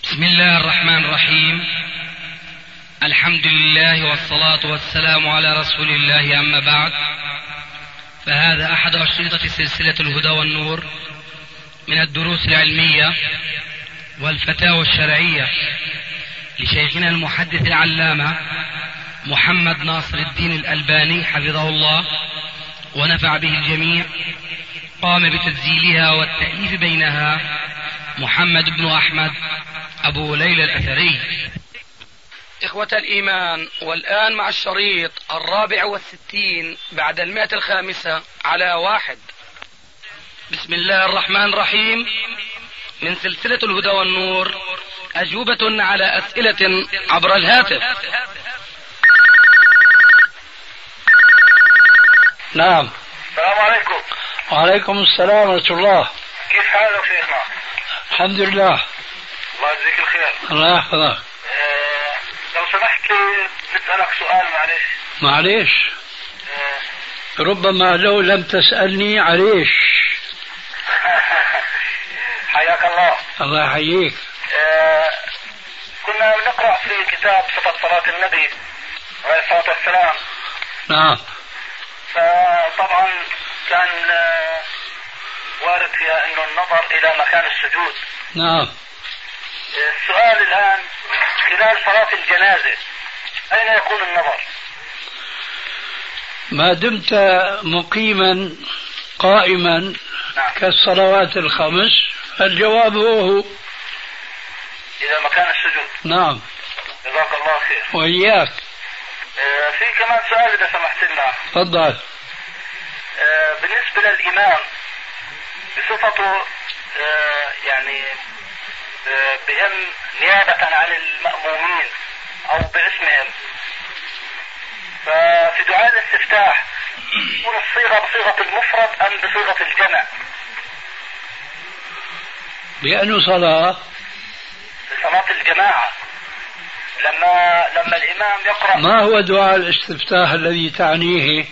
بسم الله الرحمن الرحيم الحمد لله والصلاة والسلام على رسول الله أما بعد فهذا أحد أشرطة سلسلة الهدى والنور من الدروس العلمية والفتاوى الشرعية لشيخنا المحدث العلامة محمد ناصر الدين الألباني حفظه الله ونفع به الجميع قام بتسجيلها والتأليف بينها محمد بن أحمد أبو ليلى الأثري إخوة الإيمان والآن مع الشريط الرابع والستين بعد المئة الخامسة على واحد بسم الله الرحمن الرحيم من سلسلة الهدى والنور أجوبة على أسئلة عبر الهاتف نعم السلام عليكم وعليكم السلام ورحمة الله كيف حالك شيخنا؟ الحمد لله الله يجزيك الخير الله يحفظك آه، لو سمحت لي نسألك سؤال معلش معليش آه، ربما لو لم تسألني عليش حياك الله الله يحييك آه، كنا نقرأ في كتاب صفة صلاة النبي عليه الصلاة والسلام نعم فطبعا كان آه، وارد فيها انه النظر الى مكان السجود نعم آه، السؤال الان خلال صلاة الجنازة اين يكون النظر؟ ما دمت مقيما قائما نعم كالصلوات الخمس فالجواب هو, هو الى مكان السجود نعم جزاك الله خير وإياك آه، في كمان سؤال اذا سمحت لنا تفضل آه، بالنسبه للامام بصفته آه، يعني آه، بهم نيابه عن المامومين او باسمهم ففي دعاء الاستفتاح تكون الصيغه بصيغه المفرد ام بصيغه الجمع بأنه صلاة لصلاه الجماعه لما لما الامام يقرا ما هو دعاء الاستفتاح الذي تعنيه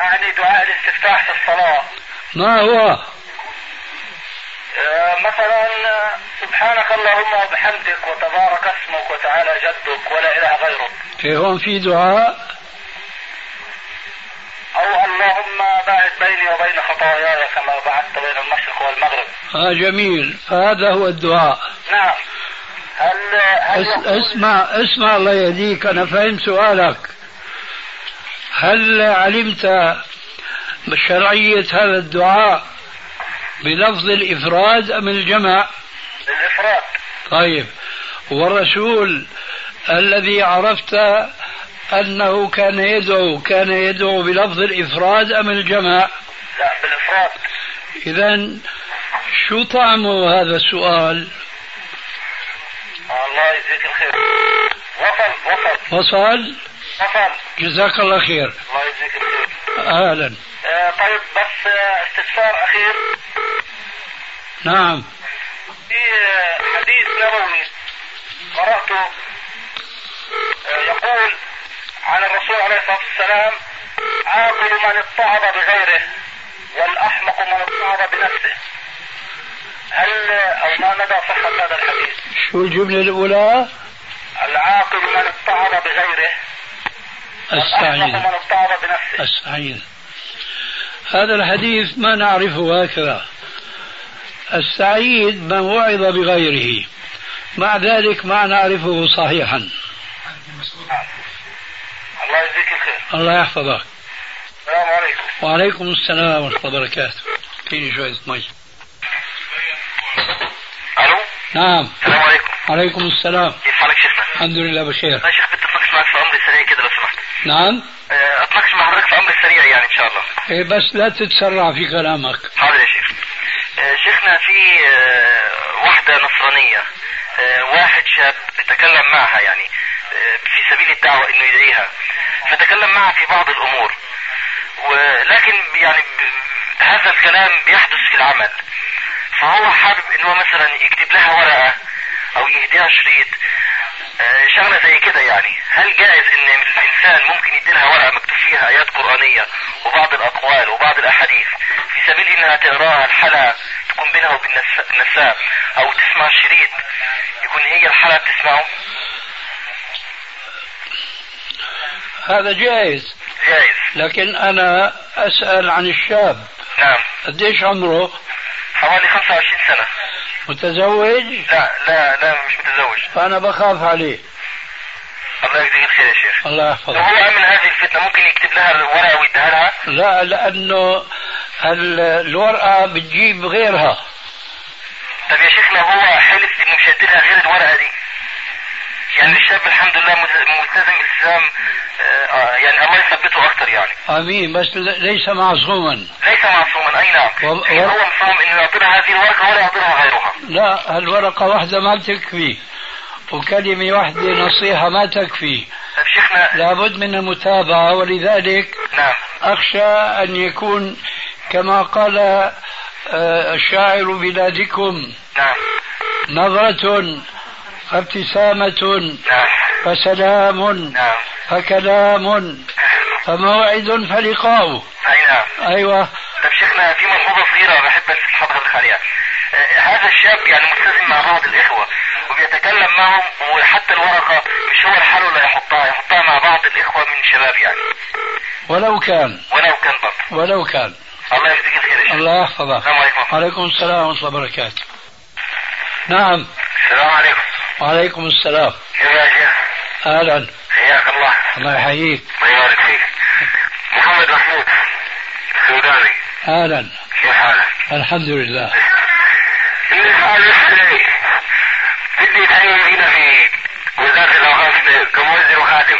اعني دعاء الاستفتاح في الصلاه ما هو مثلا آه، سبحانك اللهم وبحمدك وتبارك اسمك وتعالى جدك ولا اله غيرك في هون إيه، في دعاء او اللهم باعد بيني وبين خطاياي كما بعدت بين المشرق والمغرب آه جميل فهذا هو الدعاء نعم هل هل أس- يقول- اسمع اسمع الله يهديك انا فهمت سؤالك هل علمت شرعية هذا الدعاء بلفظ الإفراد أم الجمع الافراد طيب والرسول الذي عرفت أنه كان يدعو كان يدعو بلفظ الإفراد أم الجمع لا بالافراد إذا شو طعم هذا السؤال آه، الله يجزيك الخير وصل وصل وصل وصل جزاك الله خير الله يجزيك الخير أهلا آه، طيب بس آه، استفسار اخير نعم في حديث نبوي قرأته آه، يقول عن الرسول عليه الصلاة والسلام عاقل من اتعظ بغيره والأحمق من اتعظ بنفسه هل آه، أو ما مدى صحة هذا الحديث؟ شو الجملة الأولى العاقل من اتعظ بغيره والأحمق أستعين من اتعظ بنفسه أستعين هذا الحديث ما نعرفه هكذا السعيد من وعظ بغيره مع ذلك ما نعرفه صحيحا نعم. الله يجزيك الخير الله يحفظك السلام عليكم وعليكم السلام ورحمة الله وبركاته فيني شوية مي ألو نعم السلام عليكم وعليكم السلام كيف حالك شيخنا؟ الحمد لله بخير يا شيخ بتفقش معك في أمري سريع كده لو سمحت نعم آه، اتناقش مع حضرتك في امر سريع يعني ان شاء الله إيه بس لا تتسرع في كلامك حاضر يا شيخ آه، شيخنا في آه، وحده نصرانيه آه، واحد شاب تكلم معها يعني آه، في سبيل الدعوه انه يدعيها فتكلم معها في بعض الامور ولكن يعني ب- هذا الكلام بيحدث في العمل فهو حابب ان هو مثلا يكتب لها ورقه او يهديها شريط آه، شغله زي كده يعني هل جائز ان الانسان ممكن يدي لها ورقه مكتوب فيها ايات قرانيه وبعض الاقوال وبعض الاحاديث في سبيل انها تقراها الحلقه تكون بينها وبين النس- النساء او تسمع تسمعه؟ هذا جائز جائز لكن أنا أسأل عن الشاب نعم قديش عمره حوالي 25 سنة متزوج لا لا لا مش متزوج فأنا بخاف عليه الله يجزيك الخير يا شيخ الله لو يحفظه هو امن هذه الفتنة ممكن يكتب لها الورقة ويديها لها لا لأنه هال- الورقة بتجيب غيرها طب يا شيخنا هو حلف انه مش هيديلها غير الورقه دي يعني الشاب الحمد لله مز- ملتزم التزام آه، آه، يعني الله يثبته اكتر يعني آمين بس ل- ليس معصوما ليس معصوما اي نعم وال- لكن وال- هو مفهوم انه يعطينا هذه الورقه ولا يعطينا غيرها لا هالورقة واحدة ما بتكفي وكلمة واحدة نصيحة ما تكفي طب شيخنا لابد من متابعة ولذلك نعم أخشى أن يكون كما قال آه، الشاعر بلادكم نعم نظرة فابتسامة نعم فسلام نعم فكلام فموعد فلقاء اي نعم أيوة طب شيخنا في ملحوظه صغيره بحب اسال حضرتك عليها آه، هذا الشاب يعني ملتزم مع بعض الاخوه وبيتكلم معهم وحتى الورقه مش هو لحاله اللي يحطها يحطها مع بعض الاخوه من الشباب يعني ولو كان ولو كان برضه ولو كان الله يجزيك الخير يا شيخ. الله يحفظه السلام عليكم وعليكم السلام ورحمة الله وبركاته نعم السلام عليكم وعليكم السلام كيف يا شيخ أهلا حياك الله الله يحييك الله يبارك فيك محمد محمود سوداني أهلا كيف حالك؟ الحمد لله اللي حالي السلمي بدي تعين هنا في وزارة الأوقاف كموزن وخادم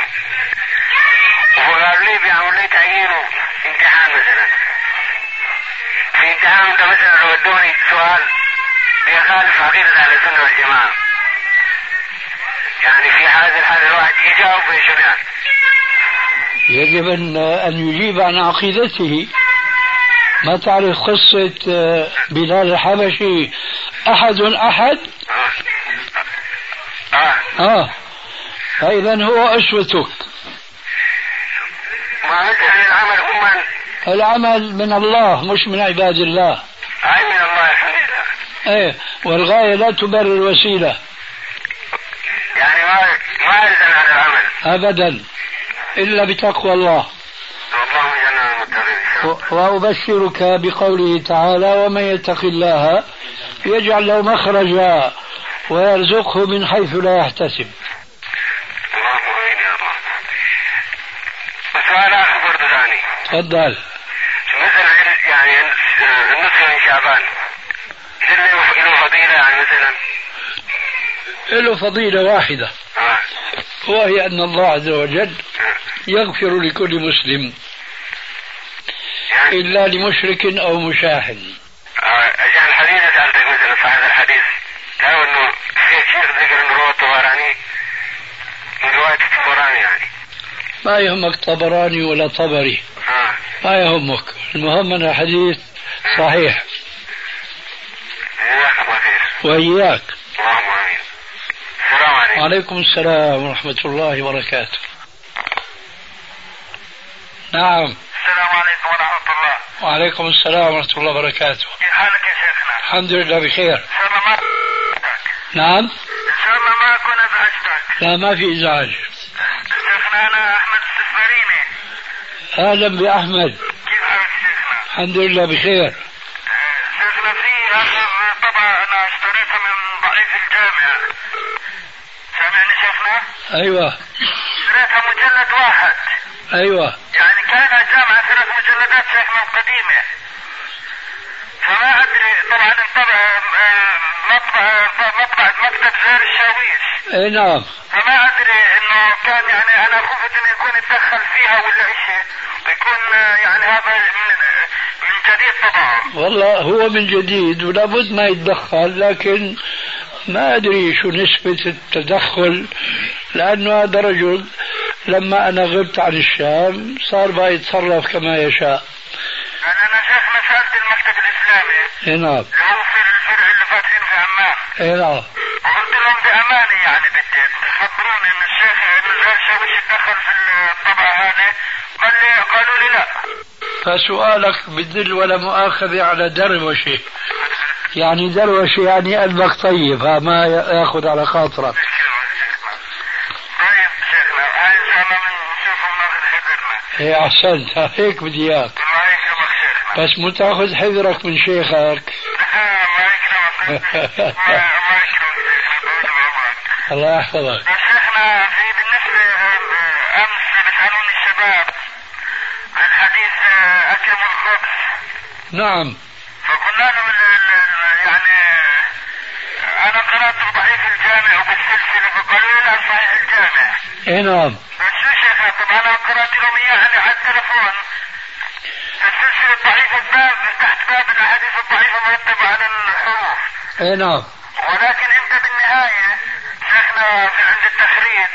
وقال لي بيعمل لي تعيينه امتحان مثلا في امتحان ده مثلا لو ادوني سؤال بيخالف عقيدة أهل السنة والجماعة يعني في حاجة الحال الواحد يجاوب ويشنع يعني. يجب أن أن يجيب عن عقيدته ما تعرف قصة آه، بلال الحبشي أحد أحد اه آه. آه فإذا هو أسوتك ما مثلا العمل أما العمل من الله مش من عباد الله عين من الله الحمد لله إيه والغاية لا تبرر الوسيلة يعني ما ما ألزم على العمل أبدا إلا بتقوى الله والله جنة المتقين إن شاء الله. و- وأبشرك بقوله تعالى ومن يتق الله يجعل له مخرجا ويرزقه من حيث لا يحتسب اللهم آمين يا رب وسؤال آخر برضه ثاني تفضل مثلا يعني النصف من شعبان هل له له فضيلة يعني مثلا له فضيلة واحدة آه. وهي أن الله عز وجل يغفر لكل مسلم يعني إلا لمشرك أو مشاحن آه، أجل الحديث سألتك مثلا صاحب الحديث قالوا إنه في شيخ ذكر إنه روى الطبراني من رواية الطبراني يعني ما يهمك طبراني ولا طبري آه. ما يهمك آية المهم أن الحديث صحيح جزاك الله خير وإياك اللهم آمين السلام عليكم وعليكم السلام ورحمة الله وبركاته نعم السلام عليكم ورحمة الله وعليكم السلام ورحمة الله وبركاته كيف حالك يا شيخنا؟ الحمد لله بخير إن شاء الله ما نعم إن شاء الله ما أكون أزعجتك لا ما في إزعاج شيخنا أنا أحمد السفريني أهلا بأحمد كيف حالك شيخنا؟ الحمد لله بخير آه، شيخنا في آخر طبعة أنا اشتريتها من ضعيف الجامعة سامعني شيخنا؟ أيوة اشتريتها مجلد واحد أيوة يعني كان الجامعة ثلاث مجلدات شيخنا القديمة فما أدري طبعا الطبعة آه، مطبعة مطبعة مكتب زهر الشاويش أي نعم فما ادري انه كان يعني انا خفت انه يكون اتدخل فيها ولا شيء ويكون آه، يعني هذا من من جديد طبعا والله هو من جديد ولابد ما يتدخل لكن ما أدري شو نسبة التدخل لأنه هذا رجل لما أنا غبت عن الشام صار بقى يتصرف كما يشاء يعني انا شايف مساله المكتب الاسلامي اي نعم اللي هو في الفرع اللي فاتحين في عمان اي نعم وقلت لهم بامانه يعني بدي خبروني ان الشيخ ان الشيخ شاويش اتدخل في الطبعه هذه قال لي قالوا لي لا فسؤالك بدل ولا مؤاخذة على دروشة يعني دروشة يعني قلبك طيب ها ما ياخذ على خاطرك ايه احسنت هيك بدي اياك الله يكرمك شيخنا بس مو تاخذ حذرك من شيخك يعني الله يكرمك الله الله يكرمك شيخنا طول بعمرك الله يحفظك شيخنا في بالنسبة أمس بيسألوني الشباب عن حديث أكلوا الخبز نعم فقلنا لهم ال- ال- ال- يعني أنا قرأته ضعيف الجامع وبالسلسلة فقالوا لي لا صحيح الجامع اي نعم بس شو شيخنا طب أنا قرأت لهم إياها اللي على التليفون السلسلة الضعيفة باب تحت باب الأحاديث الضعيفة مرتبة على الحروف اي نعم ولكن انت بالنهاية شيخنا في عند التخريج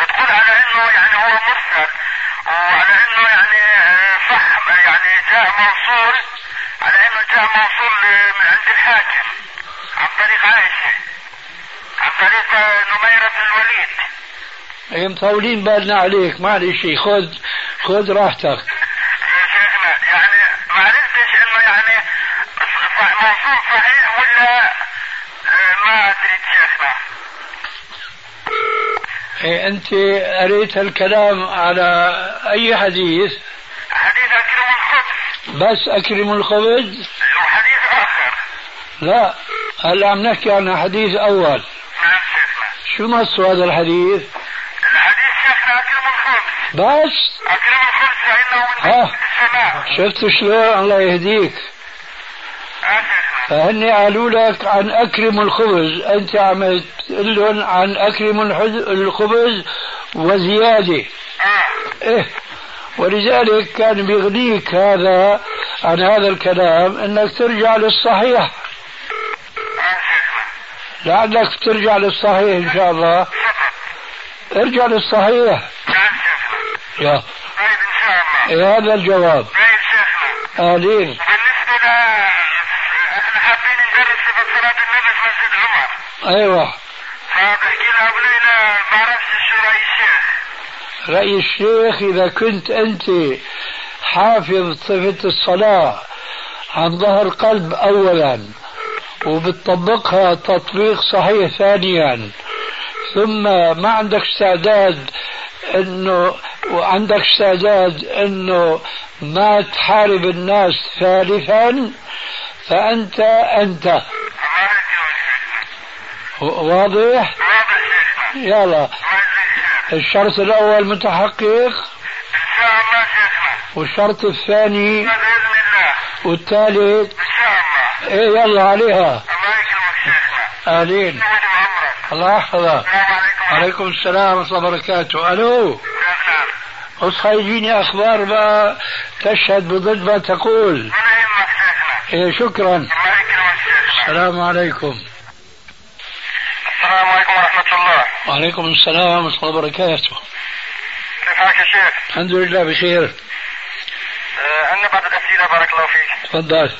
بتقول على انه يعني هو مرسل وعلى انه يعني آه، صح يعني جاء موصول على انه جاء موصول آه، من عند الحاكم عن طريق عائشة عن طريق آه، نميرة بن الوليد اي مطولين بالنا عليك معلش خذ خذ راحتك يا شيخنا يعني ما عرفتش انه يعني صح موصول صحيح ولا آه، ما ادري شيخنا إيه انت قريت الكلام على اي حديث حديث اكرم الخبز بس اكرم الخبز وحديث اخر لا هلا عم نحكي عن حديث اول نعم شيخنا شو مصر هذا الحديث الحديث شيخنا اكرم الخبز بس اكرم الخبز فانه من آه. بهجة السماء شفت شلون الله يهديك اه شيخنا فهن قالوا لك عن اكرم الخبز انت عم تقول لهم عن اكرم الحز- الخبز وزياده اه إيه ولذلك كان بيغنيك هذا عن هذا الكلام انك ترجع للصحيح اه شيخنا لعلك ترجع للصحيح ان شاء الله فقط ارجع للصحيح نعم شيخنا يا طيب ان شاء الله إيه هذا الجواب طيب شيخنا اهلين وبالنسبه ل احنا حابين ندرس صفه صلاه النبي في مسجد عمر ايوه فبحكي لها ابو ليلى بعرفش شو راي الشيخ رأي الشيخ إذا كنت أنت حافظ صفة الصلاة عن ظهر قلب أولا وبتطبقها تطبيق صحيح ثانيا ثم ما عندك استعداد انه وعندك استعداد انه ما تحارب الناس ثالثا فانت انت الله يكرمك شيخنا واضح؟ واضح شيخنا يلا الله يجزيك خير الشرط الاول متحقق ان شاء الله شيخنا والشرط الثاني باذن الله والثالث ان شاء الله ايه يلا عليها الله يكرمك شيخنا اهلين طول بعمرك الله يحفظك السلام عليكم عليكم السلام ورحمه الله وبركاته الو شيخنا اصحى يجيني اخبار بقى تشهد بضد ما تقول ولا يهمك شيخنا إيه شكرا الله يكرمك شيخنا السلام عليكم السلام عليكم ورحمة الله وعليكم السلام ورحمه الله وبركاته كيف حالك يا شيخ؟ الحمد لله بخير آه، عندنا بعض الأسئلة بارك الله فيك تفضل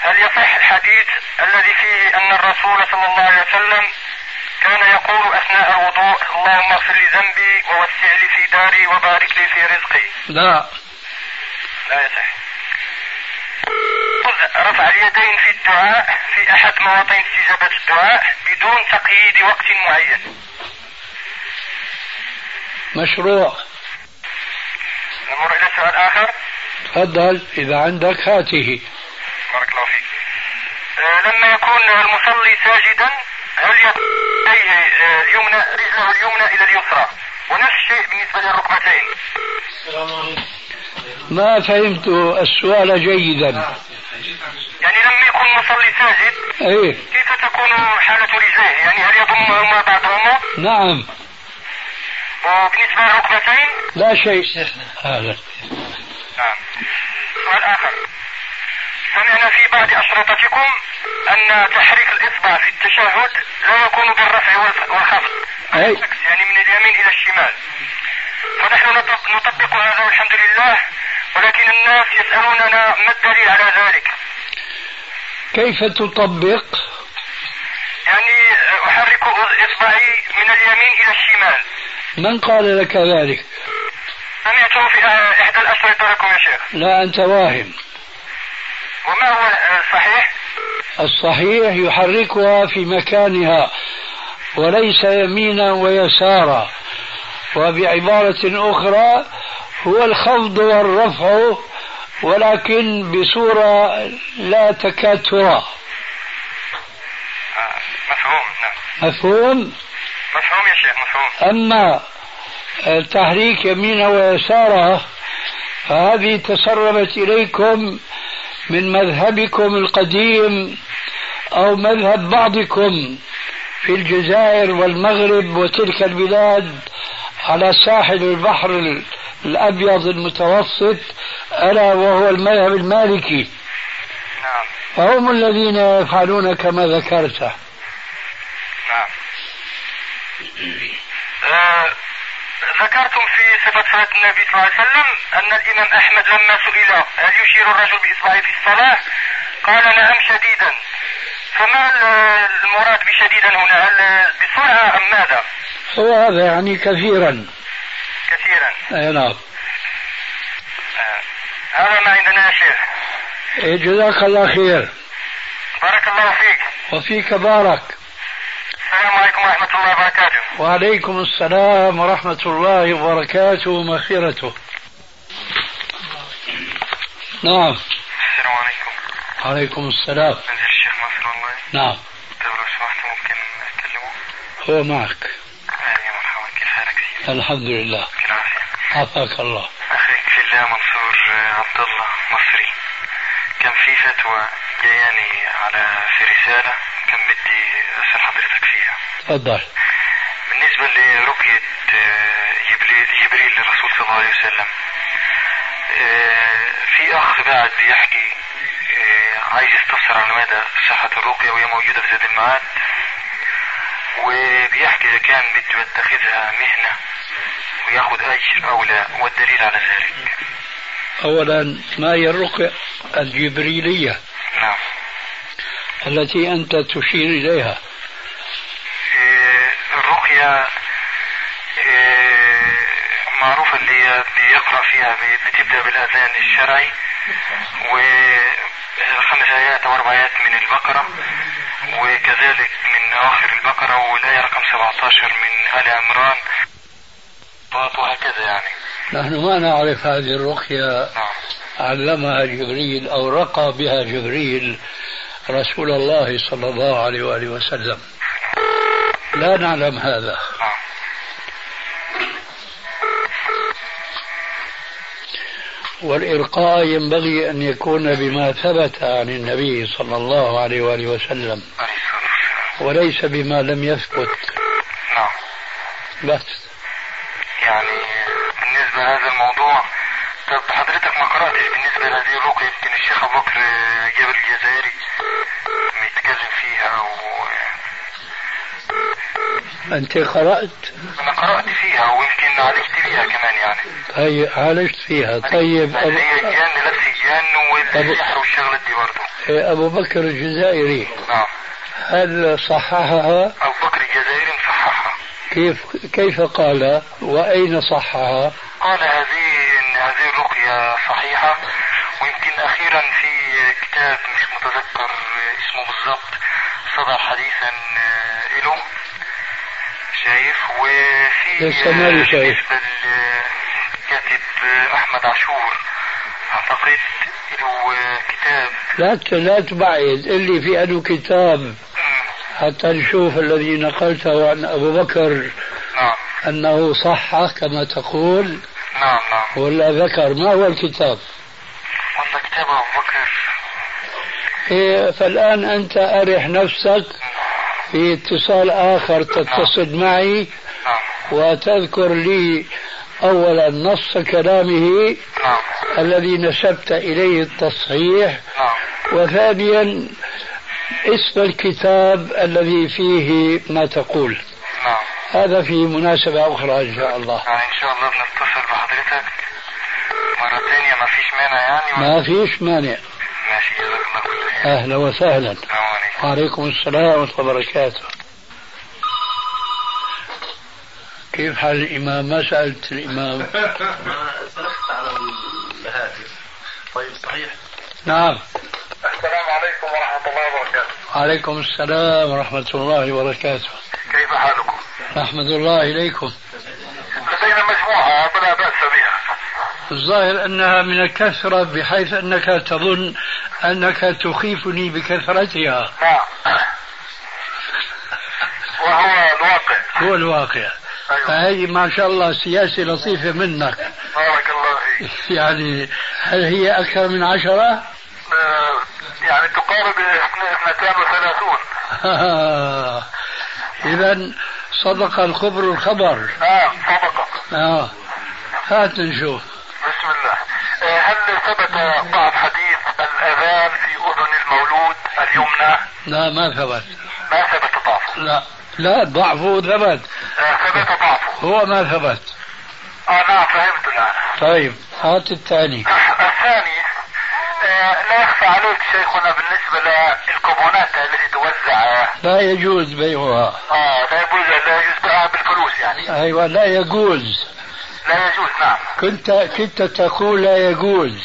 هل يصح الحديث الذي فيه أن الرسول صلى الله عليه وسلم كان يقول أثناء الوضوء اللهم اغفر لي ذنبي ووسع لي في داري وبارك لي في رزقي لا لا يصح رفع اليدين في الدعاء في أحد مواطن استجابة الدعاء بدون تقييد وقت معين مشروع نمر إلى سؤال آخر تفضل اذا عندك هاته بارك الله فيك آه، لما يكون المصلي ساجدا هل يديه آه، اليمنى رجله اليمنى إلى اليسرى ونفس الشيء بالنسبة للركبتين ما فهمت السؤال جيدا يعني لما يكون المصلي ساجد ايه كيف تكون حالة رجليه يعني هل يضمهما بعضهما نعم وبالنسبة للركبتين لا شيء هذا نعم. سؤال آخر سمعنا في بعض أشرطتكم أن تحريك الإصبع في التشهد لا يكون بالرفع والخ- والخفض أي. بالعكس، يعني من اليمين إلى الشمال فنحن نطبق, نطبق هذا والحمد لله ولكن الناس يسألوننا ما الدليل على ذلك كيف تطبق يعني أحرك إصبعي من اليمين إلى الشمال من قال لك ذلك سمعته في آه، إحدى الأشرطة لكم يا شيخ لا أنت واهم وما هو آه، صحيح الصحيح يحركها في مكانها وليس يمينا ويسارا وبعبارة أخرى هو الخفض والرفع ولكن بصورة لا تكاد ترى آه، مفهوم نعم مفهوم مفهوم يا شيخ مفهوم أما تحريك يمينه ويساره فهذه تسربت إليكم من مذهبكم القديم أو مذهب بعضكم في الجزائر والمغرب وتلك البلاد على ساحل البحر الأبيض المتوسط ألا وهو المذهب المالكي نعم فهم الذين يفعلون كما ذكرت نعم آه، ذكرتم في صفة صلاة النبي صلى الله عليه وسلم أن الإمام أحمد لما سئل هل يشير الرجل بإصبعه في الصلاة قال نعم شديدا فما ال- المراد بشديدا هنا هل بسرعة أم ماذا هو هذا يعني كثيرا كثيرا أي نعم آه، هذا ما عندنا يا شيخ إيه، جزاك الله خير بارك الله فيك وفيك بارك السلام عليكم ورحمة الله وبركاته وعليكم السلام ورحمة الله وبركاته ومغفرته نعم السلام عليكم عليكم السلام منزل الشيخ ناصر والله نعم لو لو سمحت ممكن أكلمه هو معك آه، يا مرحبا كيف حالك سيدي؟ الحمد لله بالعافية عافاك الله أخيك في الله منصور عبد الله مصري كان في فتوى جاياني على في رسالة كان بدي أسأل حضرتك فيها تفضل بالنسبة لرقية آه، جبريل جبريل للرسول صلى الله عليه وسلم آه، في أخ بعد يحكي آه، عايز يستفسر عن مدى صحة الرقية وهي موجودة في زاد المعاد وبيحكي إذا كان بده يتخذها مهنة وياخذ أجر أو لا والدليل على ذلك أولا ما هي الرقية الجبريلية نعم التي أنت تشير إليها آه، الرقية آه، معروفة اللي هي بيقرأ فيها ب- بتبدأ بالأذان الشرعي وخمس آيات أو أربع آيات من البقرة وكذلك من أواخر البقرة والآية رقم 17 من آل عمران وهكذا يعني نحن ما نعرف هذه الرقية نعم علمها جبريل أو رقى بها جبريل رسول الله صلى الله عليه وآله وسلم لا نعلم هذا نعم والإلقاء ينبغي أن يكون بما ثبت عن النبي صلى الله عليه وآله وسلم عليه الصلاة والسلام وليس بما لم يثبت نعم بس يعني بالنسبة لهذا الموضوع طب حضرتك ما قرأتش بالنسبة لهذه الرقية يمكن الشيخ أبو بكر جابر الجزائري بيتكلم فيها و أنت قرأت أنا قرأت فيها ويمكن عالجت بيها كمان يعني هي عالجت فيها طيب يعني هي أبو, الجن لبس الجن والسحر والشغلة دي برضه أبو بكر الجزائري نعم هل صححها أبو بكر الجزائري مصححها كيف كيف قال وأين صححها قال هذه ان هذه الرقية صحيحة ويمكن اخيرا في كتاب مش متذكر اسمه بالضبط صدر حديثا آه، له شايف وفي لسه مالي آه، شايف. بالنسبة للكاتب آه، احمد عاشور اعتقد له آه، كتاب لا ت- لا تبعد اللي في أنه كتاب مم، حتى نشوف الذي نقلته عن أبو بكر نعم أنه صح كما تقول نعم نعم ولا ذكر ما هو الكتاب والله كتاب ابو بكر إيه، فالآن أنت أرح نفسك في اتصال آخر تتصل معي نعم وتذكر لي أولا نص كلامه نعم الذي نسبت إليه التصحيح نعم وثانيا اسم الكتاب الذي فيه ما تقول نعم هذا في مناسبة أخرى إن شاء الله يعني ان شاء الله بنتصل بحضرتك مرة تانية ما فيش مانع يعني ما آه. فيش مانع ماشي جزاك الله كل خير أهلا وسهلا السلام عليكم وعليكم السلام ورحمة الله وبركاته كيف حال الإمام ما سألت الإمام سرحت على الهاتف طيب صحيح نعم السلام عليكم ورحمة الله وبركاته عليكم السلام ورحمة الله وبركاته كيف حالكم؟ رحمة الله إليكم لدي فلا بأس بها الظاهر أنها من الكثرة بحيث أنك تظن أنك تخيفني بكثرتها نعم وهو الواقع هو الواقع أيوة. فهي ما شاء الله سياسة لطيفة منك بارك الله فيك يعني هل هي أكثر من عشرة؟ آه، يعني تقارب اثن- اثنتان وثلاثون إذا صدق الخبر الخبر نعم صدقة آه. هات نشوف بسم الله آه، هل ثبت بعض حديث الأذان في أذن المولود اليمنى لا ما ثبت ما ثبت ضعفه لا لا ضعفه ثبت آه، ثبت ضعفه هو ما ثبت آه نعم فهمت الآن طيب هات الثاني الثاني آه، لا يخفى عليك شيخنا بالنسبة للكوبونات التي توزع لا يجوز بيعها آه لا يجوز لا يجوز بيعها بالفلوس يعني أيوة لا يجوز لا يجوز نعم كنت كنت تقول لا يجوز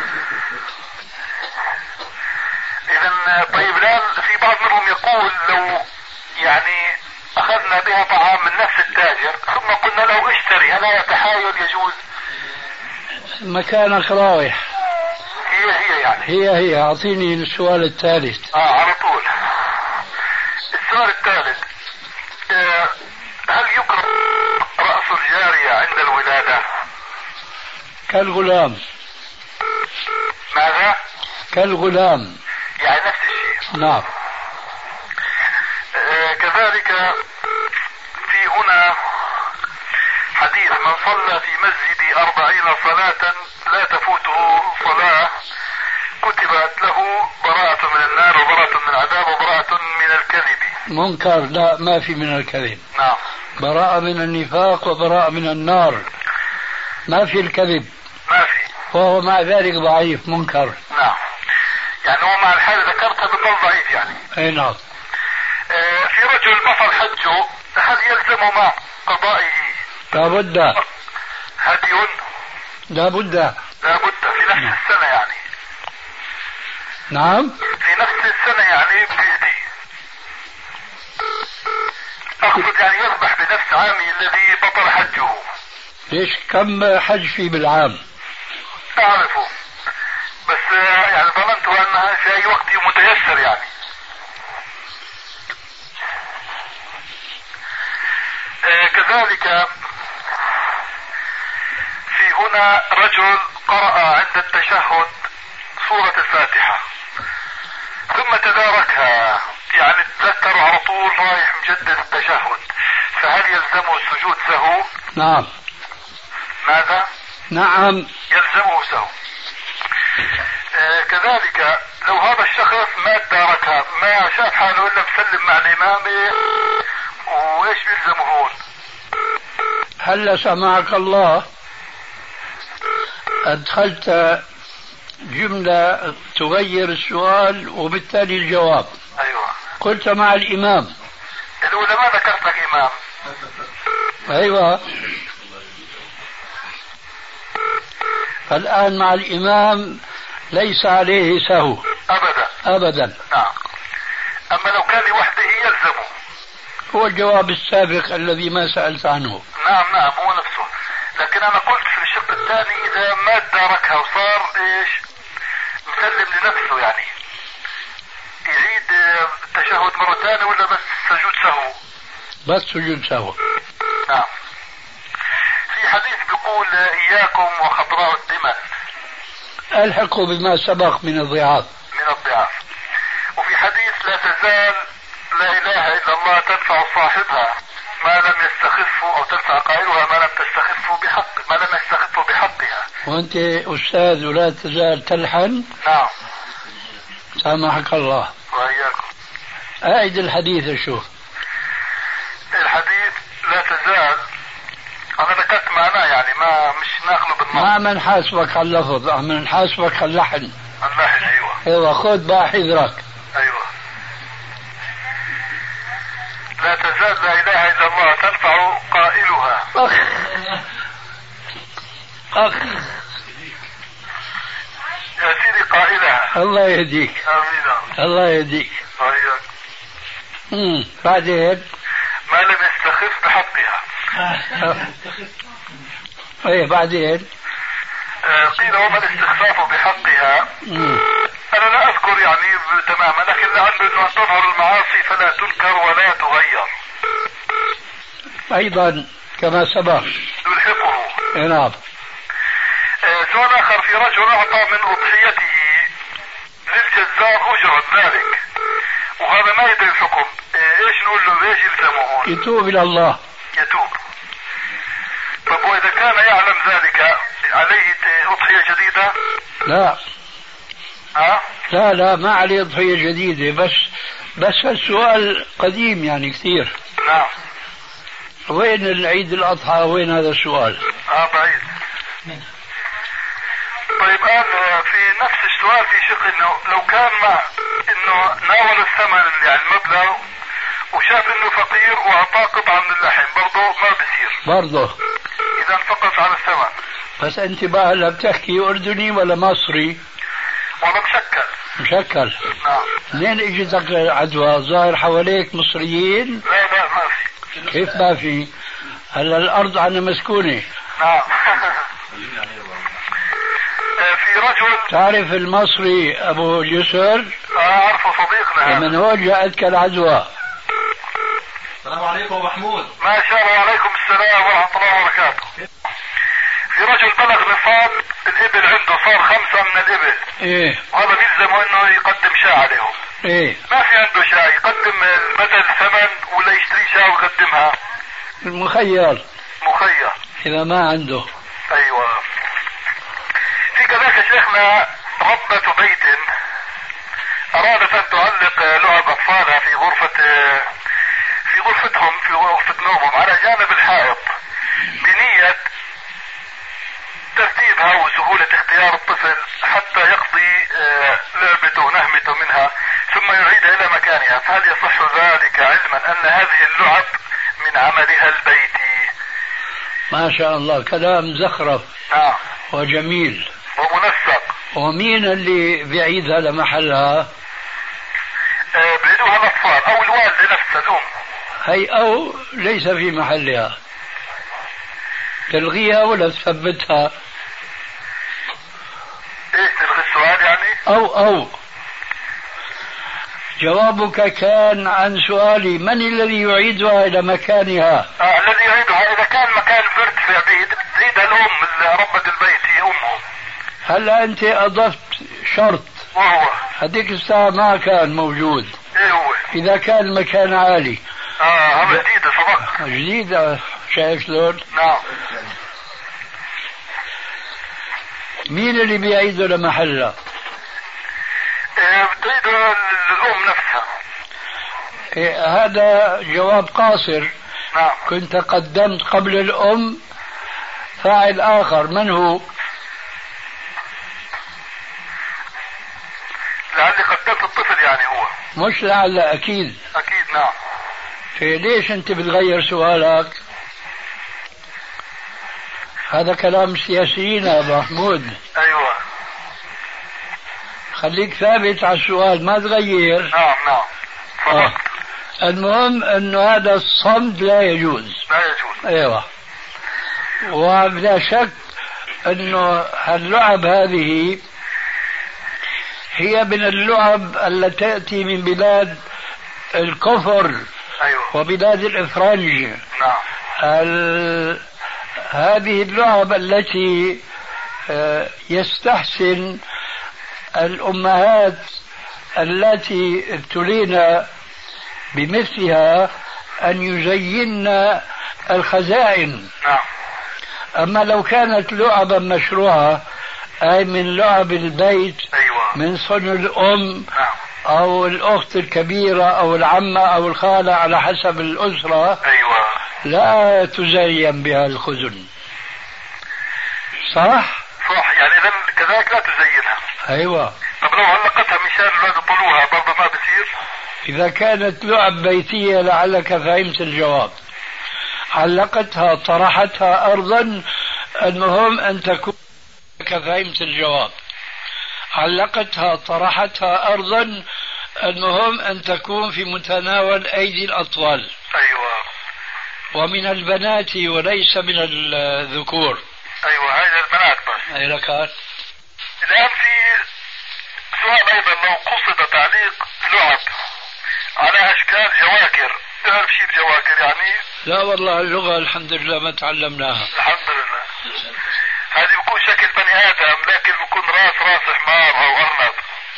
اذا طيب الان في بعض منهم يقول لو يعني اخذنا بها طعام من نفس التاجر ثم قلنا له اشتري الا يتحايل يجوز مكانك رايح هي هي يعني هي هي أعطيني السؤال الثالث اه على طول السؤال الثالث آه هل يكره راس الجاريه عند الولاده كالغلام ماذا كالغلام يعني نفس الشيء نعم آه، كذلك في هنا حديث من صلى في مسجدي أربعين صلاة لا تفوته صلاة كتبت له براءة من النار وبراءة من العذاب وبراءة من الكذب منكر لا ما في من الكذب نعم براءة من النفاق وبراءة من النار ما في الكذب ما في وهو مع ذلك ضعيف منكر نعم يعني هو مع الحال ذكرتها بقول ضعيف يعني اي نعم آه، في رجل بطل حجه هل يلزم مع قضائه لابد هدي لابد لابد في نفس السنة يعني نعم في نفس السنة يعني بيدي أقصد يعني يذبح بنفس عامي الذي بطل حجه ليش كم حج في بالعام أعرفه بس آه، يعني ظننت أنها في أي وقت متيسر يعني آه، كذلك في هنا رجل قرأ عند التشهد سورة الفاتحة ثم تداركها يعني تذكر على طول رايح مجدد التشهد فهل يلزمه السجود سهو نعم ماذا؟ نعم يلزمه سهو آه، كذلك لو هذا الشخص ما تداركها ما شاف حاله الا مسلم مع الامام وايش بيلزمه هون؟ هلا سمعك الله أدخلت جملة تغير السؤال وبالتالي الجواب ايوه قلت مع الإمام العلماء ذكرت لك امام أيوة فالآن مع الإمام ليس عليه سهو ابدا أبدا نعم اما لو كان لوحده يلزمه هو الجواب السابق الذي ما سألت عنه نعم نعم هو نفسه لكن انا قلت في الشق الثاني اذا ما تداركها وصار ايش مسلم لنفسه يعني يعيد آه، التشهد مره ثانيه ولا بس سجود سهو بس سجود سهو نعم في حديث بيقول آه، اياكم وخضراء الدماء ألحقوا بما سبق من الضعاف من الضعاف وفي حديث لا تزال لا اله الا الله تنفع صاحبها ما لم يستخفه او تنفع قائلها ما لم تستخفه بحق ما لم يستخفه بحقها وأنت أستاذ ولا تزال تلحن نعم سامحك الله واياكم أعد الحديث شوف الحديث لا تزال انا ذكرت معناه يعني ما مش ناخذه بالنص ما منحاسبك على اللفظ عم نحاسبك على اللحن الله ايوه ايوه خذ بقى حذرك ايوه لا تزال لا اله الا الله تنفع قائلها أخ أخ يا سيدي قائلها الله يهديك امين الله يهديك وإياك. امم بعدين ما لم يستخف بحقها ايه بعدين آه، قيل وما الاستخفاف بحقها مم. انا لا اذكر يعني تماما لكن لعله انه تظهر المعاصي فلا تنكر ولا تغير ايضا كما سبق نلحقه إيه نعم آه، سؤال اخر في رجل اعطى من اضحيته للجزار اجرا ذلك وهذا ما يدري الحكم آه، ايش نقول له ايش يلزمه هون يتوب الى الله يتوب طب واذا كان يعلم ذلك عليه ت- اضحيه جديده لا ها لا لا ما عليه ضحيه جديده بس بس السؤال قديم يعني كثير نعم وين العيد الاضحى وين هذا السؤال؟ اه بعيد طيب قال آه، في نفس السؤال في شق انه لو كان مع انه ناول الثمن يعني المبلغ وشاف انه فقير واعطاه قطعه من اللحم برضه ما بصير برضه اذا فقط على الثمن بس انت بقى هلا بتحكي اردني ولا مصري؟ والله مشكل مشكل نعم منين اجتك العدوى؟ ظاهر حواليك مصريين لا لا ما في كيف ما في؟ هلا الارض عنا مسكونه نعم آه، في رجل تعرف المصري ابو اليسر آه، اعرفه صديقنا هذا. من هون جاءتك العدوى السلام عليكم ابو محمود ما شاء الله عليكم السلام ورحمة الله وبركاته في رجل بلغ نصاب الإبل عنده صار خمسة من الإبل ايه وهذا بيلزمه إنه يقدم شاة عليهم ايه ما في عنده شاة يقدم بدل ثمن ولا يشتري شاة ويقدمها المخير مخير اذا ما عنده أيوة في كذلك شيخنا ربة بيت أرادت أن تعلق لعب أطفالها في غرفة في غرفتهم في غرفة نومهم على جانب الحائط بنية ترتيبها وسهولة اختيار الطفل حتى يقضي آه، لعبته نهمته منها ثم يعيدها إلى مكانها فهل يصح ذلك علما أن هذه اللعب من عملها البيتي ما شاء الله كلام زخرف نعم وجميل ومنسق ومين اللي بيعيدها لمحلها؟ آه، بيدوها الاطفال او الوالده نفسها الام هي او ليس في محلها تلغيها ولا تثبتها ايش تلغي السؤال يعني؟ او او جوابك كان عن سؤالي من الذي يعيدها الى مكانها؟ آه الذي يعيدها اذا كان مكان مرتفع بعيد بتعيدها الام ال- ربة البيت هي امه هلا انت اضفت شرط وهو هذيك الساعه ما كان موجود ايه هو؟ اذا كان المكان عالي اه هذا جديد صدق جديدة شايف شلون؟ نعم مين اللي بيعيده لمحلها؟ آه بتعيدها ال- الام نفسها إيه هذا جواب قاصر نعم كنت قدمت قبل الأم فاعل آخر من هو؟ لعلي قدمت الطفل يعني هو مش لعل أكيد اكيد نعم في ليش أنت بتغير سؤالك؟ هذا كلام سياسيين يا أبو محمود ايوه خليك ثابت على السؤال ما تغير نعم نعم آه. صدق المهم أنه هذا الصمت لا يجوز لا يجوز ايوه ولا شك انه اللعب هذه هي من اللعب التي تاتي من بلاد الكفر ايوه وبلاد الافرنج نعم ال... هذه اللعب التي آه، يستحسن الامهات التي ابتلينا بمثلها ان يزينن الخزائن نعم أما لو كانت لعبا مشروعة أي من لعب البيت ايوه من صنع الأم نعم أو الأخت الكبيرة أو العمة أو الخالة على حسب الأسرة ايوه لا تزين بها الخزن صح؟ صح يعني اذا كذلك لا تزينها أيوة طب لو علقتها مشان الاولاد يطلوها برضه ما بصير؟ إذا كانت لعب بيتية لعلك فهمت الجواب علقتها طرحتها أرضا المهم أن تكون لك فهمت الجواب علقتها طرحتها أرضا المهم أن تكون في متناول أيدي الأطفال ايوه ومن البنات وليس من الذكور ايوه هذا البنات بس أي ركعات الان في سؤال ايضا لو قصد تعليق لعب على اشكال جواكر تعرف شيء الجواكر يعني لا والله اللغة الحمد لله ما تعلمناها الحمد لله هذه بيكون شكل بني ادم لكن بيكون راس راس حمار او ارنب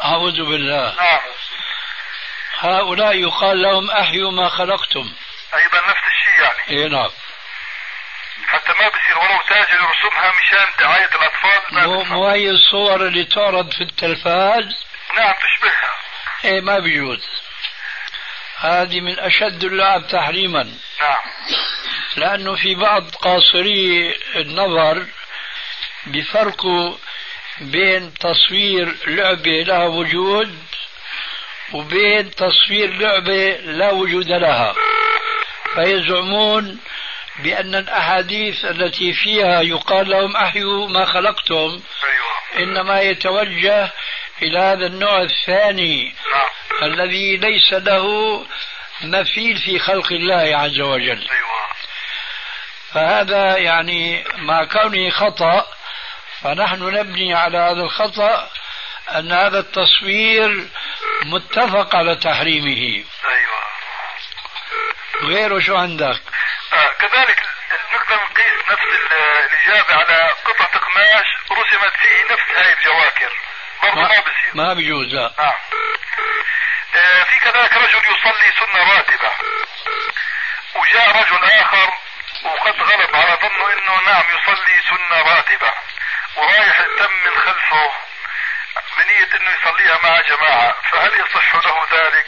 أعوذ بالله نعم هؤلاء يقال لهم أحيوا ما خلقتم ايضا نفس الشيء يعني إيه نعم حتى ما بصير ولو تاجر يرسمها مشان دعايه الاطفال ما مو بينفع. مو هي الصور اللي تعرض في التلفاز نعم تشبهها إيه ما بيجوز هذه من أشد اللعب تحريما نعم لأنه في بعض قاصري النظر بفرقوا بين تصوير لعبة لها وجود وبين تصوير لعبة لا وجود لها فيزعمون بأن الأحاديث التي فيها يقال لهم أحيوا ما خلقتم ايوه إنما يتوجه إلى هذا النوع الثاني نعم الذي ليس له مثيل في خلق الله عز وجل ايوه فهذا يعني مع كونه خطأ فنحن نبني على هذا الخطأ أن هذا التصوير متفق على تحريمه ايوه غيره شو عندك آه كذلك نقدر نقيس نفس ال- الاجابه على قطعه قماش رسمت فيه نفس هاي الجواكر برضه ما بصير ما بيجوز لا نعم آه، في كذلك رجل يصلي سنة راتبة وجاء رجل آخر وقد غلب على ظنه أنه نعم يصلي سنة راتبة ورايح الدم من خلفه بنية أنه يصليها مع جماعة فهل يصح له ذلك؟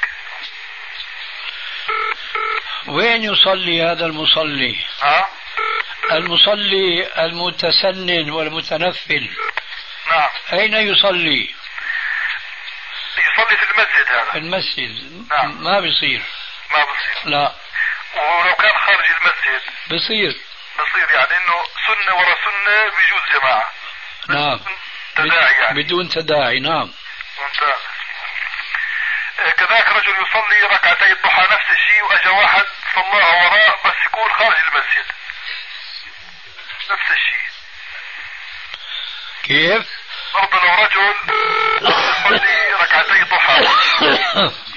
وين يصلي هذا المصلي ها؟ المصلي المتسنن والمتنفل نعم أين يصلي يصلي في المسجد هذا المسجد نعم. ما بيصير ما بصير لا ولو كان خارج المسجد بصير بصير يعني أنه سنة ورا سنة بجوز جماعة نعم تداعي يعني بدون تداعي نعم ممتاز آه، كذلك رجل يصلي ركعتي الضحى نفس الشيء واجا واحد صلاها وراه بس يكون خارج المسجد نفس الشيء كيف برضه لو رجل يصلي ركعتي الضحى